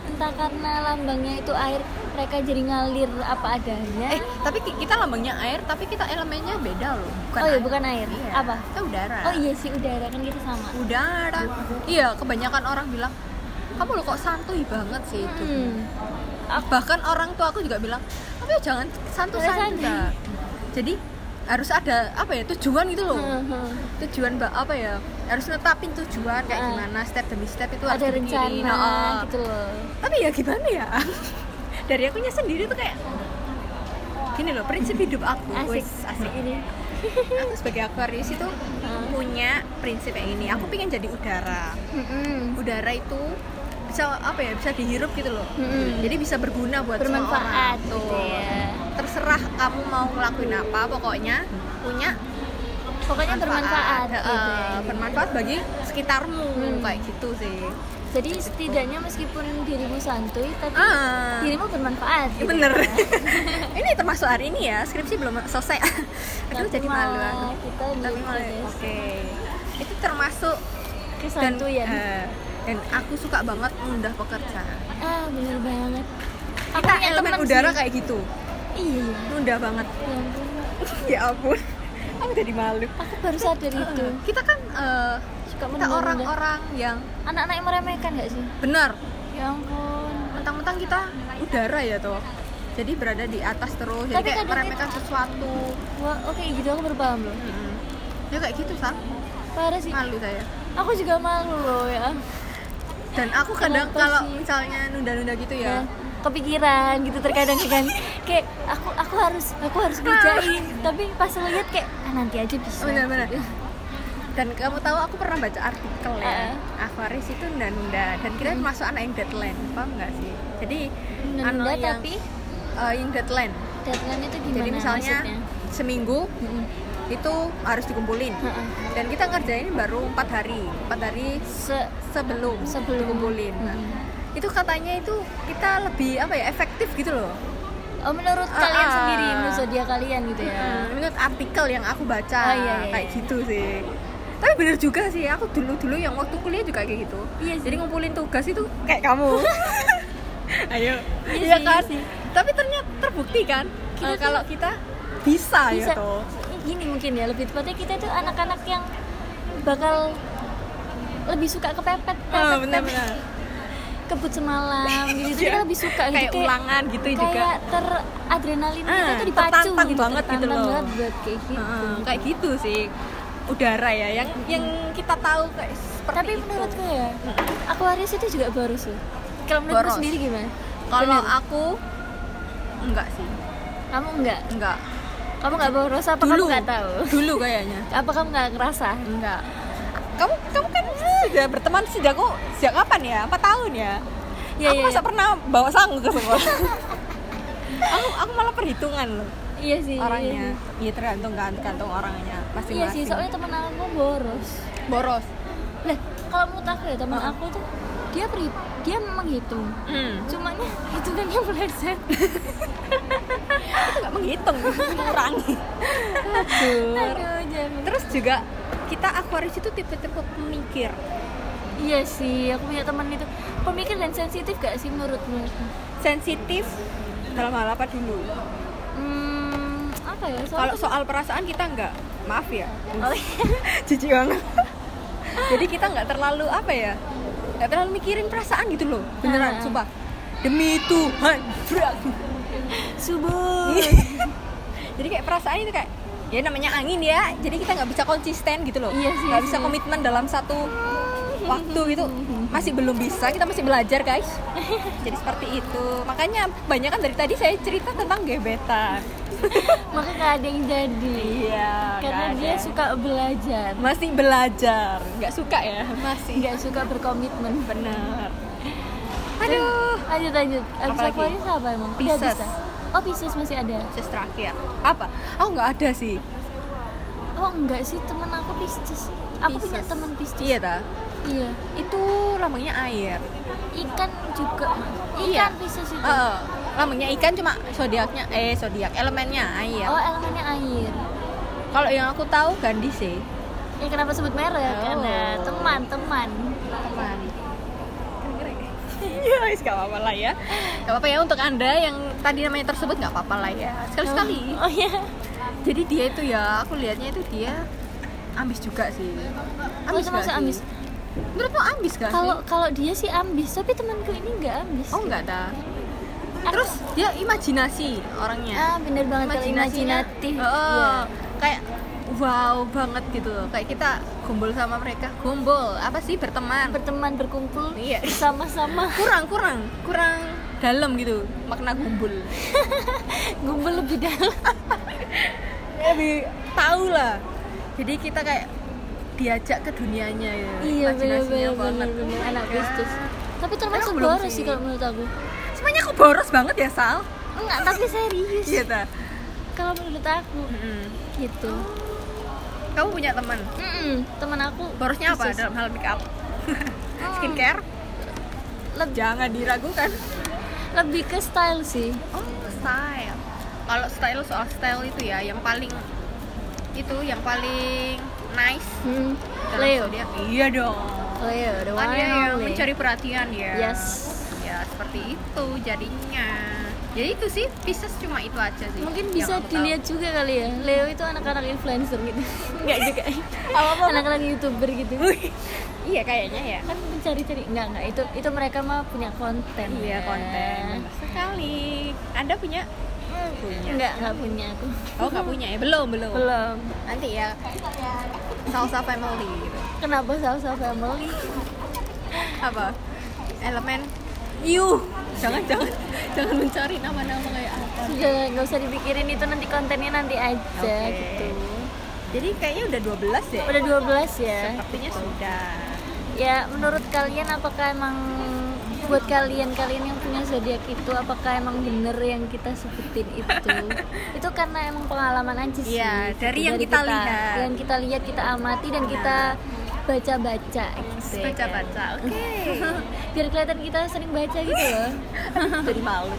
[SPEAKER 1] Entah karena lambangnya itu air, mereka jadi ngalir apa adanya.
[SPEAKER 2] eh tapi ki- kita lambangnya air tapi kita elemennya beda loh bukan
[SPEAKER 1] oh iya,
[SPEAKER 2] air.
[SPEAKER 1] bukan air.
[SPEAKER 2] Iya.
[SPEAKER 1] Apa?
[SPEAKER 2] kita udara
[SPEAKER 1] Oh iya sih udara kan kita sama.
[SPEAKER 2] udara iya kebanyakan orang bilang kamu lo kok santuy banget sih itu
[SPEAKER 1] Hmm.
[SPEAKER 2] Ah, bahkan orang tua aku juga bilang tapi jangan santuy
[SPEAKER 1] Jangan santuy.
[SPEAKER 2] santuy jadi harus ada apa ya tujuan gitu loh
[SPEAKER 1] Heeh.
[SPEAKER 2] tujuan mbak apa ya harus netapin tujuan kayak
[SPEAKER 1] Ah.
[SPEAKER 2] gimana step demi step itu harus
[SPEAKER 1] Ada
[SPEAKER 2] dipikirin.
[SPEAKER 1] rencana
[SPEAKER 2] Oh, oh.
[SPEAKER 1] gitu loh.
[SPEAKER 2] tapi ya gimana ya dari akunya sendiri tuh kayak gini loh prinsip hidup aku
[SPEAKER 1] Asik,
[SPEAKER 2] Wes, asik
[SPEAKER 1] ini.
[SPEAKER 2] aku sebagai Aquarius itu
[SPEAKER 1] Ah.
[SPEAKER 2] punya prinsip kayak gini aku pengen jadi udara
[SPEAKER 1] Mm-mm.
[SPEAKER 2] udara itu bisa apa ya bisa dihirup gitu loh
[SPEAKER 1] Mm-mm.
[SPEAKER 2] jadi bisa berguna buat semua
[SPEAKER 1] Bermanfaat
[SPEAKER 2] orang.
[SPEAKER 1] gitu
[SPEAKER 2] Tuh.
[SPEAKER 1] ya.
[SPEAKER 2] terserah kamu mau ngelakuin apa pokoknya punya
[SPEAKER 1] Pokoknya bermanfaat
[SPEAKER 2] Eh,
[SPEAKER 1] gitu. ya.
[SPEAKER 2] bermanfaat bagi sekitarmu
[SPEAKER 1] Hmm.
[SPEAKER 2] kayak gitu sih
[SPEAKER 1] Jadi setidaknya meskipun dirimu santuy tapi
[SPEAKER 2] Ah.
[SPEAKER 1] dirimu bermanfaat.
[SPEAKER 2] Ya,
[SPEAKER 1] gitu
[SPEAKER 2] bener
[SPEAKER 1] ya.
[SPEAKER 2] ini termasuk hari ini ya skripsi belum selesai
[SPEAKER 1] Tapi
[SPEAKER 2] aduh jadi malu
[SPEAKER 1] malah
[SPEAKER 2] aku
[SPEAKER 1] Nah, Kita gitu ya.
[SPEAKER 2] tapi
[SPEAKER 1] di
[SPEAKER 2] malu oke
[SPEAKER 1] podcast
[SPEAKER 2] itu termasuk
[SPEAKER 1] kesantuyan.
[SPEAKER 2] eh, dan aku suka banget mengundah pekerjaan
[SPEAKER 1] ah bener banget. Aku
[SPEAKER 2] kita
[SPEAKER 1] punya
[SPEAKER 2] elemen
[SPEAKER 1] teman
[SPEAKER 2] udara
[SPEAKER 1] sih.
[SPEAKER 2] kayak gitu
[SPEAKER 1] Iya. iya.
[SPEAKER 2] mengundah banget
[SPEAKER 1] Ya ampun.
[SPEAKER 2] ya ampun aku jadi malu
[SPEAKER 1] Aku baru sadar itu.
[SPEAKER 2] kita kan eh,
[SPEAKER 1] Suka
[SPEAKER 2] kita
[SPEAKER 1] menunda.
[SPEAKER 2] orang-orang yang
[SPEAKER 1] anak-anak yang meremehkan gak sih?
[SPEAKER 2] benar
[SPEAKER 1] Ya ampun.
[SPEAKER 2] mentang-mentang kita udara ya tuh jadi berada di atas terus jadi
[SPEAKER 1] Tapi
[SPEAKER 2] kayak
[SPEAKER 1] kadang
[SPEAKER 2] meremehkan sesuatu
[SPEAKER 1] Wah, oke gitu aku baru paham loh.
[SPEAKER 2] Mm-mm. ya kayak gitu san
[SPEAKER 1] Parah sih.
[SPEAKER 2] malu saya
[SPEAKER 1] Aku juga malu loh ya.
[SPEAKER 2] dan aku kadang
[SPEAKER 1] Kenapa
[SPEAKER 2] kalau
[SPEAKER 1] sih?
[SPEAKER 2] misalnya nunda-nunda gitu
[SPEAKER 1] ya.
[SPEAKER 2] ya
[SPEAKER 1] kepikiran gitu terkadang kan kayak aku aku harus aku
[SPEAKER 2] Ah.
[SPEAKER 1] harus ngerjain tapi pas lihat kayak ah, nanti aja bisa
[SPEAKER 2] benar-benar Oh, dan kamu tahu aku pernah baca artikel
[SPEAKER 1] Eh.
[SPEAKER 2] ya Aquarius itu nunda-nunda dan kita termasuk anak yang deadline paham nggak sih jadi
[SPEAKER 1] nunda
[SPEAKER 2] anak Anu yang-
[SPEAKER 1] tapi
[SPEAKER 2] eh, yang deadline
[SPEAKER 1] deadline itu gimana
[SPEAKER 2] jadi misalnya
[SPEAKER 1] maksudnya?
[SPEAKER 2] seminggu
[SPEAKER 1] Mm-mm.
[SPEAKER 2] itu harus dikumpulin
[SPEAKER 1] Ha-ha.
[SPEAKER 2] dan kita ngerjain baru empat hari empat hari
[SPEAKER 1] Se-
[SPEAKER 2] sebelum
[SPEAKER 1] Sebelum.
[SPEAKER 2] dikumpulin Nah,
[SPEAKER 1] Mm.
[SPEAKER 2] itu katanya itu kita lebih apa ya efektif gitu loh
[SPEAKER 1] oh menurut
[SPEAKER 2] Ah,
[SPEAKER 1] kalian
[SPEAKER 2] ah. Hmm,
[SPEAKER 1] sendiri menurut zodiak kalian gitu ya
[SPEAKER 2] Mm-hmm. menurut artikel yang aku baca
[SPEAKER 1] Oh, iya, iya,
[SPEAKER 2] kayak
[SPEAKER 1] iya.
[SPEAKER 2] gitu sih tapi bener juga sih aku dulu dulu yang waktu kuliah juga kayak gitu
[SPEAKER 1] Iya sih.
[SPEAKER 2] jadi ngumpulin tugas itu kayak kamu ayo
[SPEAKER 1] Iya
[SPEAKER 2] iya
[SPEAKER 1] sih,
[SPEAKER 2] kan
[SPEAKER 1] iya sih.
[SPEAKER 2] tapi ternyata terbukti kan
[SPEAKER 1] Kita
[SPEAKER 2] eh,
[SPEAKER 1] tuh
[SPEAKER 2] kalau kita bisa,
[SPEAKER 1] bisa
[SPEAKER 2] ya toh
[SPEAKER 1] gini mungkin ya lebih tepatnya kita tuh anak-anak yang bakal lebih suka kepepet
[SPEAKER 2] Eh,
[SPEAKER 1] pepet,
[SPEAKER 2] benar-benar
[SPEAKER 1] kebut semalam gitu
[SPEAKER 2] Iya.
[SPEAKER 1] kita lebih suka
[SPEAKER 2] kayak
[SPEAKER 1] gitu,
[SPEAKER 2] ulangan gitu juga
[SPEAKER 1] kayak teradrenalin kita
[SPEAKER 2] Ah,
[SPEAKER 1] tuh dipacu
[SPEAKER 2] tertantang banget gitu
[SPEAKER 1] tertantang
[SPEAKER 2] loh.
[SPEAKER 1] banget buat kayak gitu
[SPEAKER 2] Heeh, kayak gitu sih udara ya yang yang kita tahu kayak seperti
[SPEAKER 1] tapi
[SPEAKER 2] itu.
[SPEAKER 1] menurutku ya Aquarius itu juga boros loh kalau menurutku
[SPEAKER 2] Boros.
[SPEAKER 1] sendiri gimana
[SPEAKER 2] kalau
[SPEAKER 1] Bener.
[SPEAKER 2] aku enggak sih
[SPEAKER 1] kamu enggak
[SPEAKER 2] enggak
[SPEAKER 1] kamu enggak boros apa kamu enggak tahu
[SPEAKER 2] dulu kayaknya
[SPEAKER 1] apa kamu enggak ngerasa
[SPEAKER 2] enggak kamu kamu kan sudah berteman sejak aku sejak kapan ya empat tahun ya
[SPEAKER 1] Iya,
[SPEAKER 2] aku
[SPEAKER 1] iya,
[SPEAKER 2] masa
[SPEAKER 1] iya.
[SPEAKER 2] pernah bawa sangu ke semua aku aku malah perhitungan loh
[SPEAKER 1] iya sih
[SPEAKER 2] orangnya iya tergantung tergantung orangnya
[SPEAKER 1] iya
[SPEAKER 2] masing-masing
[SPEAKER 1] sih soalnya teman aku boros
[SPEAKER 2] boros
[SPEAKER 1] lah kalau menurut aku ya teman
[SPEAKER 2] Heeh.
[SPEAKER 1] aku tuh dia pri- dia gitu. menghitung
[SPEAKER 2] Hmm.
[SPEAKER 1] cuman ya hitungannya meleset
[SPEAKER 2] Itu nggak menghitung, mengurangi.
[SPEAKER 1] aduh jangan
[SPEAKER 2] Terus juga kita Aquarius itu tipe-tipe pemikir.
[SPEAKER 1] iya sih aku punya teman itu pemikir dan sensitif gak sih menurutmu
[SPEAKER 2] Sensitif dalam hal apa dulu?
[SPEAKER 1] hmm apa ya soal
[SPEAKER 2] Kalau soal perasaan kita nggak, maaf ya,
[SPEAKER 1] Oh, iya.
[SPEAKER 2] jijik banget. Jadi kita nggak terlalu apa ya? Nggak terlalu mikirin perasaan gitu loh,
[SPEAKER 1] Ah.
[SPEAKER 2] beneran, sumpah. Demi Tuhan, brak.
[SPEAKER 1] subuh
[SPEAKER 2] Jadi kayak perasaan itu kayak ya namanya angin ya. Jadi kita nggak bisa konsisten gitu loh.
[SPEAKER 1] Iya sih,
[SPEAKER 2] Nggak
[SPEAKER 1] iya
[SPEAKER 2] bisa
[SPEAKER 1] sih.
[SPEAKER 2] komitmen dalam satu waktu gitu. Masih belum bisa. Kita masih belajar guys. Jadi seperti itu. Makanya banyak kan dari tadi saya cerita tentang gebetan.
[SPEAKER 1] maka gak ada yang jadi
[SPEAKER 2] Iya.
[SPEAKER 1] karena dia suka belajar
[SPEAKER 2] masih belajar. Nggak suka ya. Masih.
[SPEAKER 1] nggak suka berkomitmen
[SPEAKER 2] Bener. Aduh.
[SPEAKER 1] lanjut lanjut abis
[SPEAKER 2] Apalagi?
[SPEAKER 1] Aquarius apa emang Udah
[SPEAKER 2] Pisces.
[SPEAKER 1] bisa? oh Pisces masih ada
[SPEAKER 2] Terus terakhir apa? Oh nggak ada sih.
[SPEAKER 1] oh enggak sih temen aku Pisces aku punya
[SPEAKER 2] Pisces.
[SPEAKER 1] temen Pisces
[SPEAKER 2] Iya dah.
[SPEAKER 1] Iya.
[SPEAKER 2] Itu lambangnya air.
[SPEAKER 1] ikan juga ikan
[SPEAKER 2] Iya.
[SPEAKER 1] Pisces itu
[SPEAKER 2] Eh, lambangnya ikan cuma zodiaknya eh zodiak elemennya air.
[SPEAKER 1] oh elemennya air
[SPEAKER 2] Kalau yang aku tahu Gandhi sih.
[SPEAKER 1] ya kenapa sebut merek
[SPEAKER 2] Oh.
[SPEAKER 1] karena teman teman
[SPEAKER 2] Teman. Iya, wis gak apa-apa lah ya. Gak apa-apa ya untuk Anda yang tadi namanya tersebut gak apa-apa lah ya. Sekali-sekali.
[SPEAKER 1] oh iya
[SPEAKER 2] Jadi dia itu ya, aku lihatnya itu dia ambis juga sih.
[SPEAKER 1] Oh, itu
[SPEAKER 2] gak
[SPEAKER 1] masuk
[SPEAKER 2] sih?
[SPEAKER 1] ambis?
[SPEAKER 2] Menurutmu ambis gak
[SPEAKER 1] kalau
[SPEAKER 2] sih?
[SPEAKER 1] kalau dia sih ambis tapi temanku ini nggak ambis
[SPEAKER 2] Oh enggak ada.
[SPEAKER 1] Aku-
[SPEAKER 2] Terus dia imajinasi orangnya.
[SPEAKER 1] ah bener banget kalau
[SPEAKER 2] Imajinasinya,
[SPEAKER 1] imajinatif Iya.
[SPEAKER 2] oh, kayak wow banget gitu loh. kayak kita kumpul sama mereka kumpul apa sih
[SPEAKER 1] Iya.
[SPEAKER 2] berteman
[SPEAKER 1] berteman berkumpul
[SPEAKER 2] Iya.
[SPEAKER 1] bersama-sama
[SPEAKER 2] kurang kurang kurang dalam gitu makna kumpul
[SPEAKER 1] gumpul lebih dalam
[SPEAKER 2] lebih tahu lah jadi kita kayak diajak ke dunianya ya
[SPEAKER 1] iya bener
[SPEAKER 2] imajinasinya
[SPEAKER 1] bener
[SPEAKER 2] banget
[SPEAKER 1] bener bener anak
[SPEAKER 2] Iya.
[SPEAKER 1] Pisces tapi termasuk
[SPEAKER 2] belum
[SPEAKER 1] boros
[SPEAKER 2] sih.
[SPEAKER 1] sih kalau menurut aku
[SPEAKER 2] semuanya kok boros banget ya Sal
[SPEAKER 1] enggak tapi serius
[SPEAKER 2] iya ta
[SPEAKER 1] kalau menurut aku
[SPEAKER 2] Mm-mm.
[SPEAKER 1] gitu
[SPEAKER 2] kamu punya teman
[SPEAKER 1] Mm-mm, temen aku
[SPEAKER 2] borosnya apa
[SPEAKER 1] Pisces.
[SPEAKER 2] dalam hal make up
[SPEAKER 1] Hmm,
[SPEAKER 2] skincare
[SPEAKER 1] leb-
[SPEAKER 2] jangan diragukan
[SPEAKER 1] lebih ke style sih
[SPEAKER 2] Oh, style. Kalau style soal style itu ya yang paling itu yang paling nice
[SPEAKER 1] Hmm,
[SPEAKER 2] dalam
[SPEAKER 1] Leo
[SPEAKER 2] zodiak. Iya dong.
[SPEAKER 1] Leo the
[SPEAKER 2] Kan
[SPEAKER 1] one
[SPEAKER 2] dia
[SPEAKER 1] and
[SPEAKER 2] yang
[SPEAKER 1] only.
[SPEAKER 2] mencari perhatian ya.
[SPEAKER 1] Iya, yes
[SPEAKER 2] Ya, seperti itu jadinya. Jadi itu sih Pisces cuma itu aja sih.
[SPEAKER 1] mungkin
[SPEAKER 2] yang
[SPEAKER 1] bisa
[SPEAKER 2] aku tahu.
[SPEAKER 1] dilihat juga kali ya Leo itu anak-anak influencer gitu
[SPEAKER 2] Enggak juga.
[SPEAKER 1] anak-anak youtuber gitu
[SPEAKER 2] iya kayaknya ya.
[SPEAKER 1] kan mencari-cari enggak enggak itu itu mereka mah punya konten
[SPEAKER 2] Iya,
[SPEAKER 1] ya.
[SPEAKER 2] konten. Benar Sekali. Anda punya? Hmm, Punya.
[SPEAKER 1] enggak enggak punya aku
[SPEAKER 2] Oh, nggak punya ya? Belum, belum.
[SPEAKER 1] belum
[SPEAKER 2] Nanti ya. Salsa Family gitu.
[SPEAKER 1] kenapa salsa family
[SPEAKER 2] apa elemen you jangan jangan jangan mencari nama-nama kayak apa
[SPEAKER 1] sudah nggak usah dipikirin itu nanti kontennya nanti aja
[SPEAKER 2] Oke.
[SPEAKER 1] gitu
[SPEAKER 2] jadi kayaknya udah 12 deh
[SPEAKER 1] udah 12 ya
[SPEAKER 2] sepertinya sudah
[SPEAKER 1] ya menurut kalian apakah emang buat kalian kalian yang punya zodiak itu apakah emang bener yang kita sebutin itu itu karena emang pengalaman aja sih
[SPEAKER 2] Iya,
[SPEAKER 1] gitu,
[SPEAKER 2] dari yang kita lihat.
[SPEAKER 1] yang kita lihat kita amati dan kita baca-baca gitu ya kan.
[SPEAKER 2] baca-baca oke
[SPEAKER 1] biar kelihatan kita sering baca gitu loh
[SPEAKER 2] jadi malu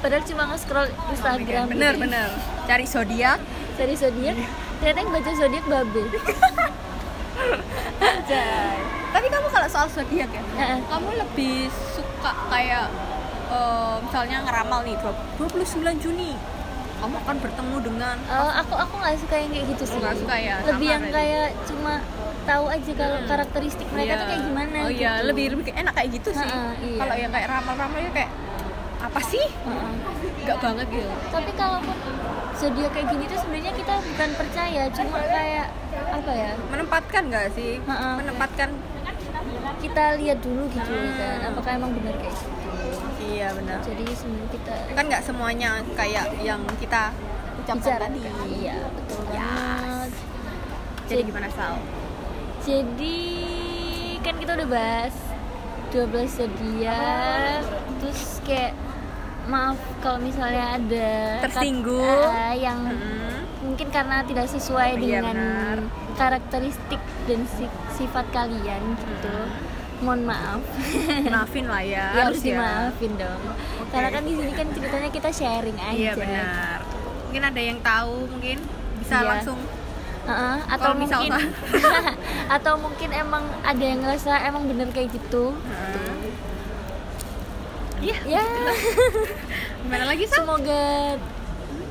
[SPEAKER 1] padahal cuma nge-scroll Instagram
[SPEAKER 2] Oh bener
[SPEAKER 1] gitu.
[SPEAKER 2] bener cari zodiak
[SPEAKER 1] dari zodiak ternyata yang baca zodiak babe
[SPEAKER 2] tapi kamu kalau soal zodiak ya
[SPEAKER 1] Heeh.
[SPEAKER 2] kamu lebih suka kayak eh, misalnya ngeramal nih 29 Juni kamu akan bertemu dengan
[SPEAKER 1] Eh, aku aku nggak suka yang kayak gitu sih
[SPEAKER 2] Nggak suka ya,
[SPEAKER 1] lebih
[SPEAKER 2] sama
[SPEAKER 1] yang
[SPEAKER 2] berarti.
[SPEAKER 1] kayak cuma tahu aja kalau
[SPEAKER 2] Hmm.
[SPEAKER 1] karakteristik mereka
[SPEAKER 2] Iya.
[SPEAKER 1] tuh kayak gimana
[SPEAKER 2] Oh iya,
[SPEAKER 1] gitu.
[SPEAKER 2] lebih lebih enak kayak gitu sih.
[SPEAKER 1] Ha-ha, iya.
[SPEAKER 2] Kalau yang kayak ramal-ramal ya kayak apa sih?
[SPEAKER 1] Heeh.
[SPEAKER 2] Enggak banget gitu.
[SPEAKER 1] tapi kalaupun zodiak kayak gini tuh sebenarnya kita bukan percaya cuma kayak apa ya
[SPEAKER 2] Menempatkan nggak sih?
[SPEAKER 1] Ha-ha.
[SPEAKER 2] Menempatkan.
[SPEAKER 1] kita lihat dulu gitu
[SPEAKER 2] Hmm.
[SPEAKER 1] kan apakah emang benar kayak gitu
[SPEAKER 2] Iya benar.
[SPEAKER 1] jadi sebenarnya kita
[SPEAKER 2] Kan nggak semuanya kayak yang kita ucapkan
[SPEAKER 1] bicara
[SPEAKER 2] tadi. kan.
[SPEAKER 1] iya betul
[SPEAKER 2] Yes.
[SPEAKER 1] banget
[SPEAKER 2] Jadi gimana Sal?
[SPEAKER 1] Jadi kan kita udah bahas 12 zodiak terus kayak maaf kalau misalnya ada kat-
[SPEAKER 2] Tersinggung.
[SPEAKER 1] eh, yang
[SPEAKER 2] Hmm.
[SPEAKER 1] mungkin karena tidak sesuai
[SPEAKER 2] Iya,
[SPEAKER 1] dengan
[SPEAKER 2] benar.
[SPEAKER 1] karakteristik dan si- sifat kalian gitu. mohon maaf
[SPEAKER 2] maafin lah ya,
[SPEAKER 1] ya, harus dimaafin dong karena kan di sini kan ceritanya kita sharing aja
[SPEAKER 2] Iya benar. Mungkin ada yang tahu mungkin bisa
[SPEAKER 1] Iya.
[SPEAKER 2] langsung
[SPEAKER 1] Heeh, atau
[SPEAKER 2] Kalau
[SPEAKER 1] mungkin
[SPEAKER 2] misalkan.
[SPEAKER 1] atau mungkin emang ada yang ngerasa emang bener kayak gitu
[SPEAKER 2] Heeh. Iya,
[SPEAKER 1] ya
[SPEAKER 2] gimana lagi Sam?
[SPEAKER 1] semoga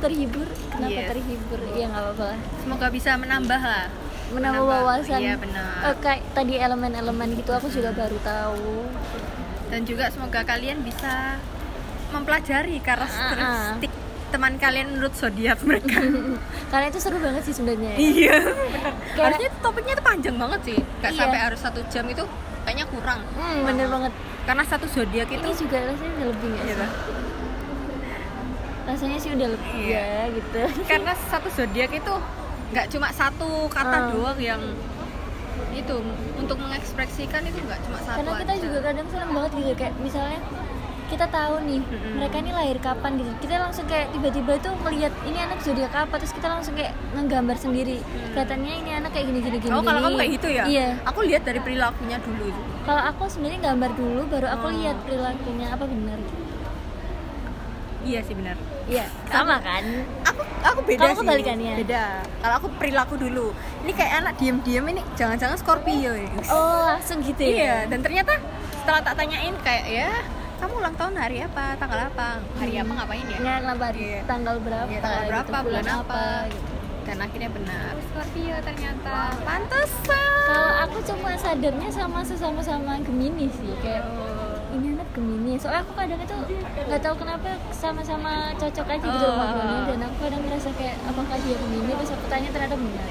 [SPEAKER 1] terhibur kenapa
[SPEAKER 2] Yes.
[SPEAKER 1] terhibur ya nggak apa-apa lah.
[SPEAKER 2] Semoga bisa menambah lah.
[SPEAKER 1] menambah
[SPEAKER 2] Menambah,
[SPEAKER 1] wawasan
[SPEAKER 2] iya, benar.
[SPEAKER 1] Eh, kayak tadi elemen-elemen gitu aku juga baru tahu
[SPEAKER 2] Dan juga semoga kalian bisa
[SPEAKER 1] Ah,
[SPEAKER 2] mempelajari karakteristik teman kalian menurut zodiak mereka.
[SPEAKER 1] karena itu seru banget sih sebenarnya ya.
[SPEAKER 2] iya.
[SPEAKER 1] Kayak-
[SPEAKER 2] Harusnya topiknya itu panjang banget sih. Gak
[SPEAKER 1] Iya.
[SPEAKER 2] sampai harus satu jam itu kayaknya kurang.
[SPEAKER 1] hmm, bener banget
[SPEAKER 2] Karena satu zodiak itu
[SPEAKER 1] ini juga rasanya udah lebih nggak sih?
[SPEAKER 2] Iya, Pak.
[SPEAKER 1] rasanya sih udah lebih
[SPEAKER 2] Iya.
[SPEAKER 1] ya gitu
[SPEAKER 2] karena satu zodiak itu nggak cuma satu kata
[SPEAKER 1] Hmm.
[SPEAKER 2] doang yang itu untuk mengekspresikan itu nggak cuma satu
[SPEAKER 1] karena kita
[SPEAKER 2] aja.
[SPEAKER 1] juga kadang seneng banget gitu kayak misalnya kita tahu nih
[SPEAKER 2] Mm-mm.
[SPEAKER 1] mereka ini lahir kapan gitu kita langsung kayak tiba-tiba tuh melihat ini anak zodiak apa terus kita langsung kayak ngegambar sendiri kelihatannya ini anak kayak gini gini gini
[SPEAKER 2] Mm. oh kalau
[SPEAKER 1] gini.
[SPEAKER 2] kamu kayak gitu ya
[SPEAKER 1] iya
[SPEAKER 2] aku lihat dari perilakunya dulu itu
[SPEAKER 1] kalau aku sebenarnya gambar dulu baru aku
[SPEAKER 2] Oh.
[SPEAKER 1] lihat perilakunya apa benar gitu.
[SPEAKER 2] iya sih benar
[SPEAKER 1] iya sama kan
[SPEAKER 2] aku aku beda
[SPEAKER 1] Kamu
[SPEAKER 2] sih
[SPEAKER 1] kebalikannya.
[SPEAKER 2] beda kalau aku perilaku dulu ini kayak anak diem-diem ini jangan-jangan Scorpio ya.
[SPEAKER 1] oh langsung gitu ya
[SPEAKER 2] iya dan ternyata setelah tak tanyain kayak ya kamu ulang tahun hari apa tanggal apa hari
[SPEAKER 1] Hmm.
[SPEAKER 2] apa ngapain ya
[SPEAKER 1] nggak kenapa hari-
[SPEAKER 2] Iya.
[SPEAKER 1] tanggal berapa
[SPEAKER 2] Iya, tanggal
[SPEAKER 1] gitu,
[SPEAKER 2] berapa, bulan apa,
[SPEAKER 1] gitu.
[SPEAKER 2] dan akhirnya benar Scorpio ternyata pantesan
[SPEAKER 1] kalau aku cuma sadarnya sama sesama sama Gemini sih kayak ini anak Gemini soalnya aku kadang itu nggak tahu kenapa sama-sama cocok aja gitu
[SPEAKER 2] Oh.
[SPEAKER 1] loh ngobrolnya. dan aku kadang ngerasa kayak apakah dia Gemini pas aku tanya ternyata benar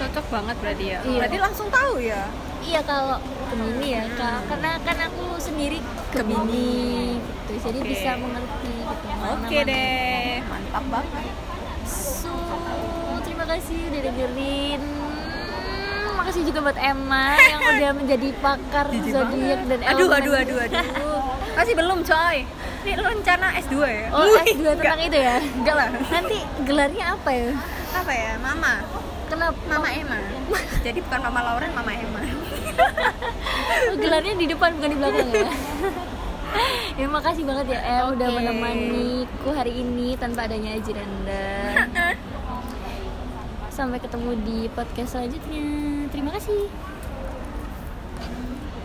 [SPEAKER 2] cocok banget berarti ya
[SPEAKER 1] Iya.
[SPEAKER 2] berarti langsung tahu ya
[SPEAKER 1] iya kalau Gemini ya Kak. karena kan aku sendiri Gemini gitu jadi
[SPEAKER 2] Oke.
[SPEAKER 1] bisa mengerti gitu
[SPEAKER 2] oke
[SPEAKER 1] mana-mana.
[SPEAKER 2] deh mantap banget
[SPEAKER 1] so terima kasih udah dengerin Hmm, makasih juga buat Emma yang udah menjadi pakar
[SPEAKER 2] Jijik
[SPEAKER 1] zodiak
[SPEAKER 2] banget.
[SPEAKER 1] dan
[SPEAKER 2] aduh
[SPEAKER 1] elemen.
[SPEAKER 2] aduh aduh aduh masih belum coy ini lu rencana S2 ya
[SPEAKER 1] oh
[SPEAKER 2] Wih,
[SPEAKER 1] S2 tentang itu ya
[SPEAKER 2] enggak lah
[SPEAKER 1] nanti gelarnya apa ya
[SPEAKER 2] apa ya mama
[SPEAKER 1] kenapa
[SPEAKER 2] mama Emma jadi bukan mama Lauren mama Emma
[SPEAKER 1] Oh, gelarnya di depan bukan di belakang ya. ya makasih banget ya El udah
[SPEAKER 2] Oke.
[SPEAKER 1] menemaniku hari ini tanpa adanya Ajiranda. Sampai ketemu di podcast selanjutnya. Terima kasih.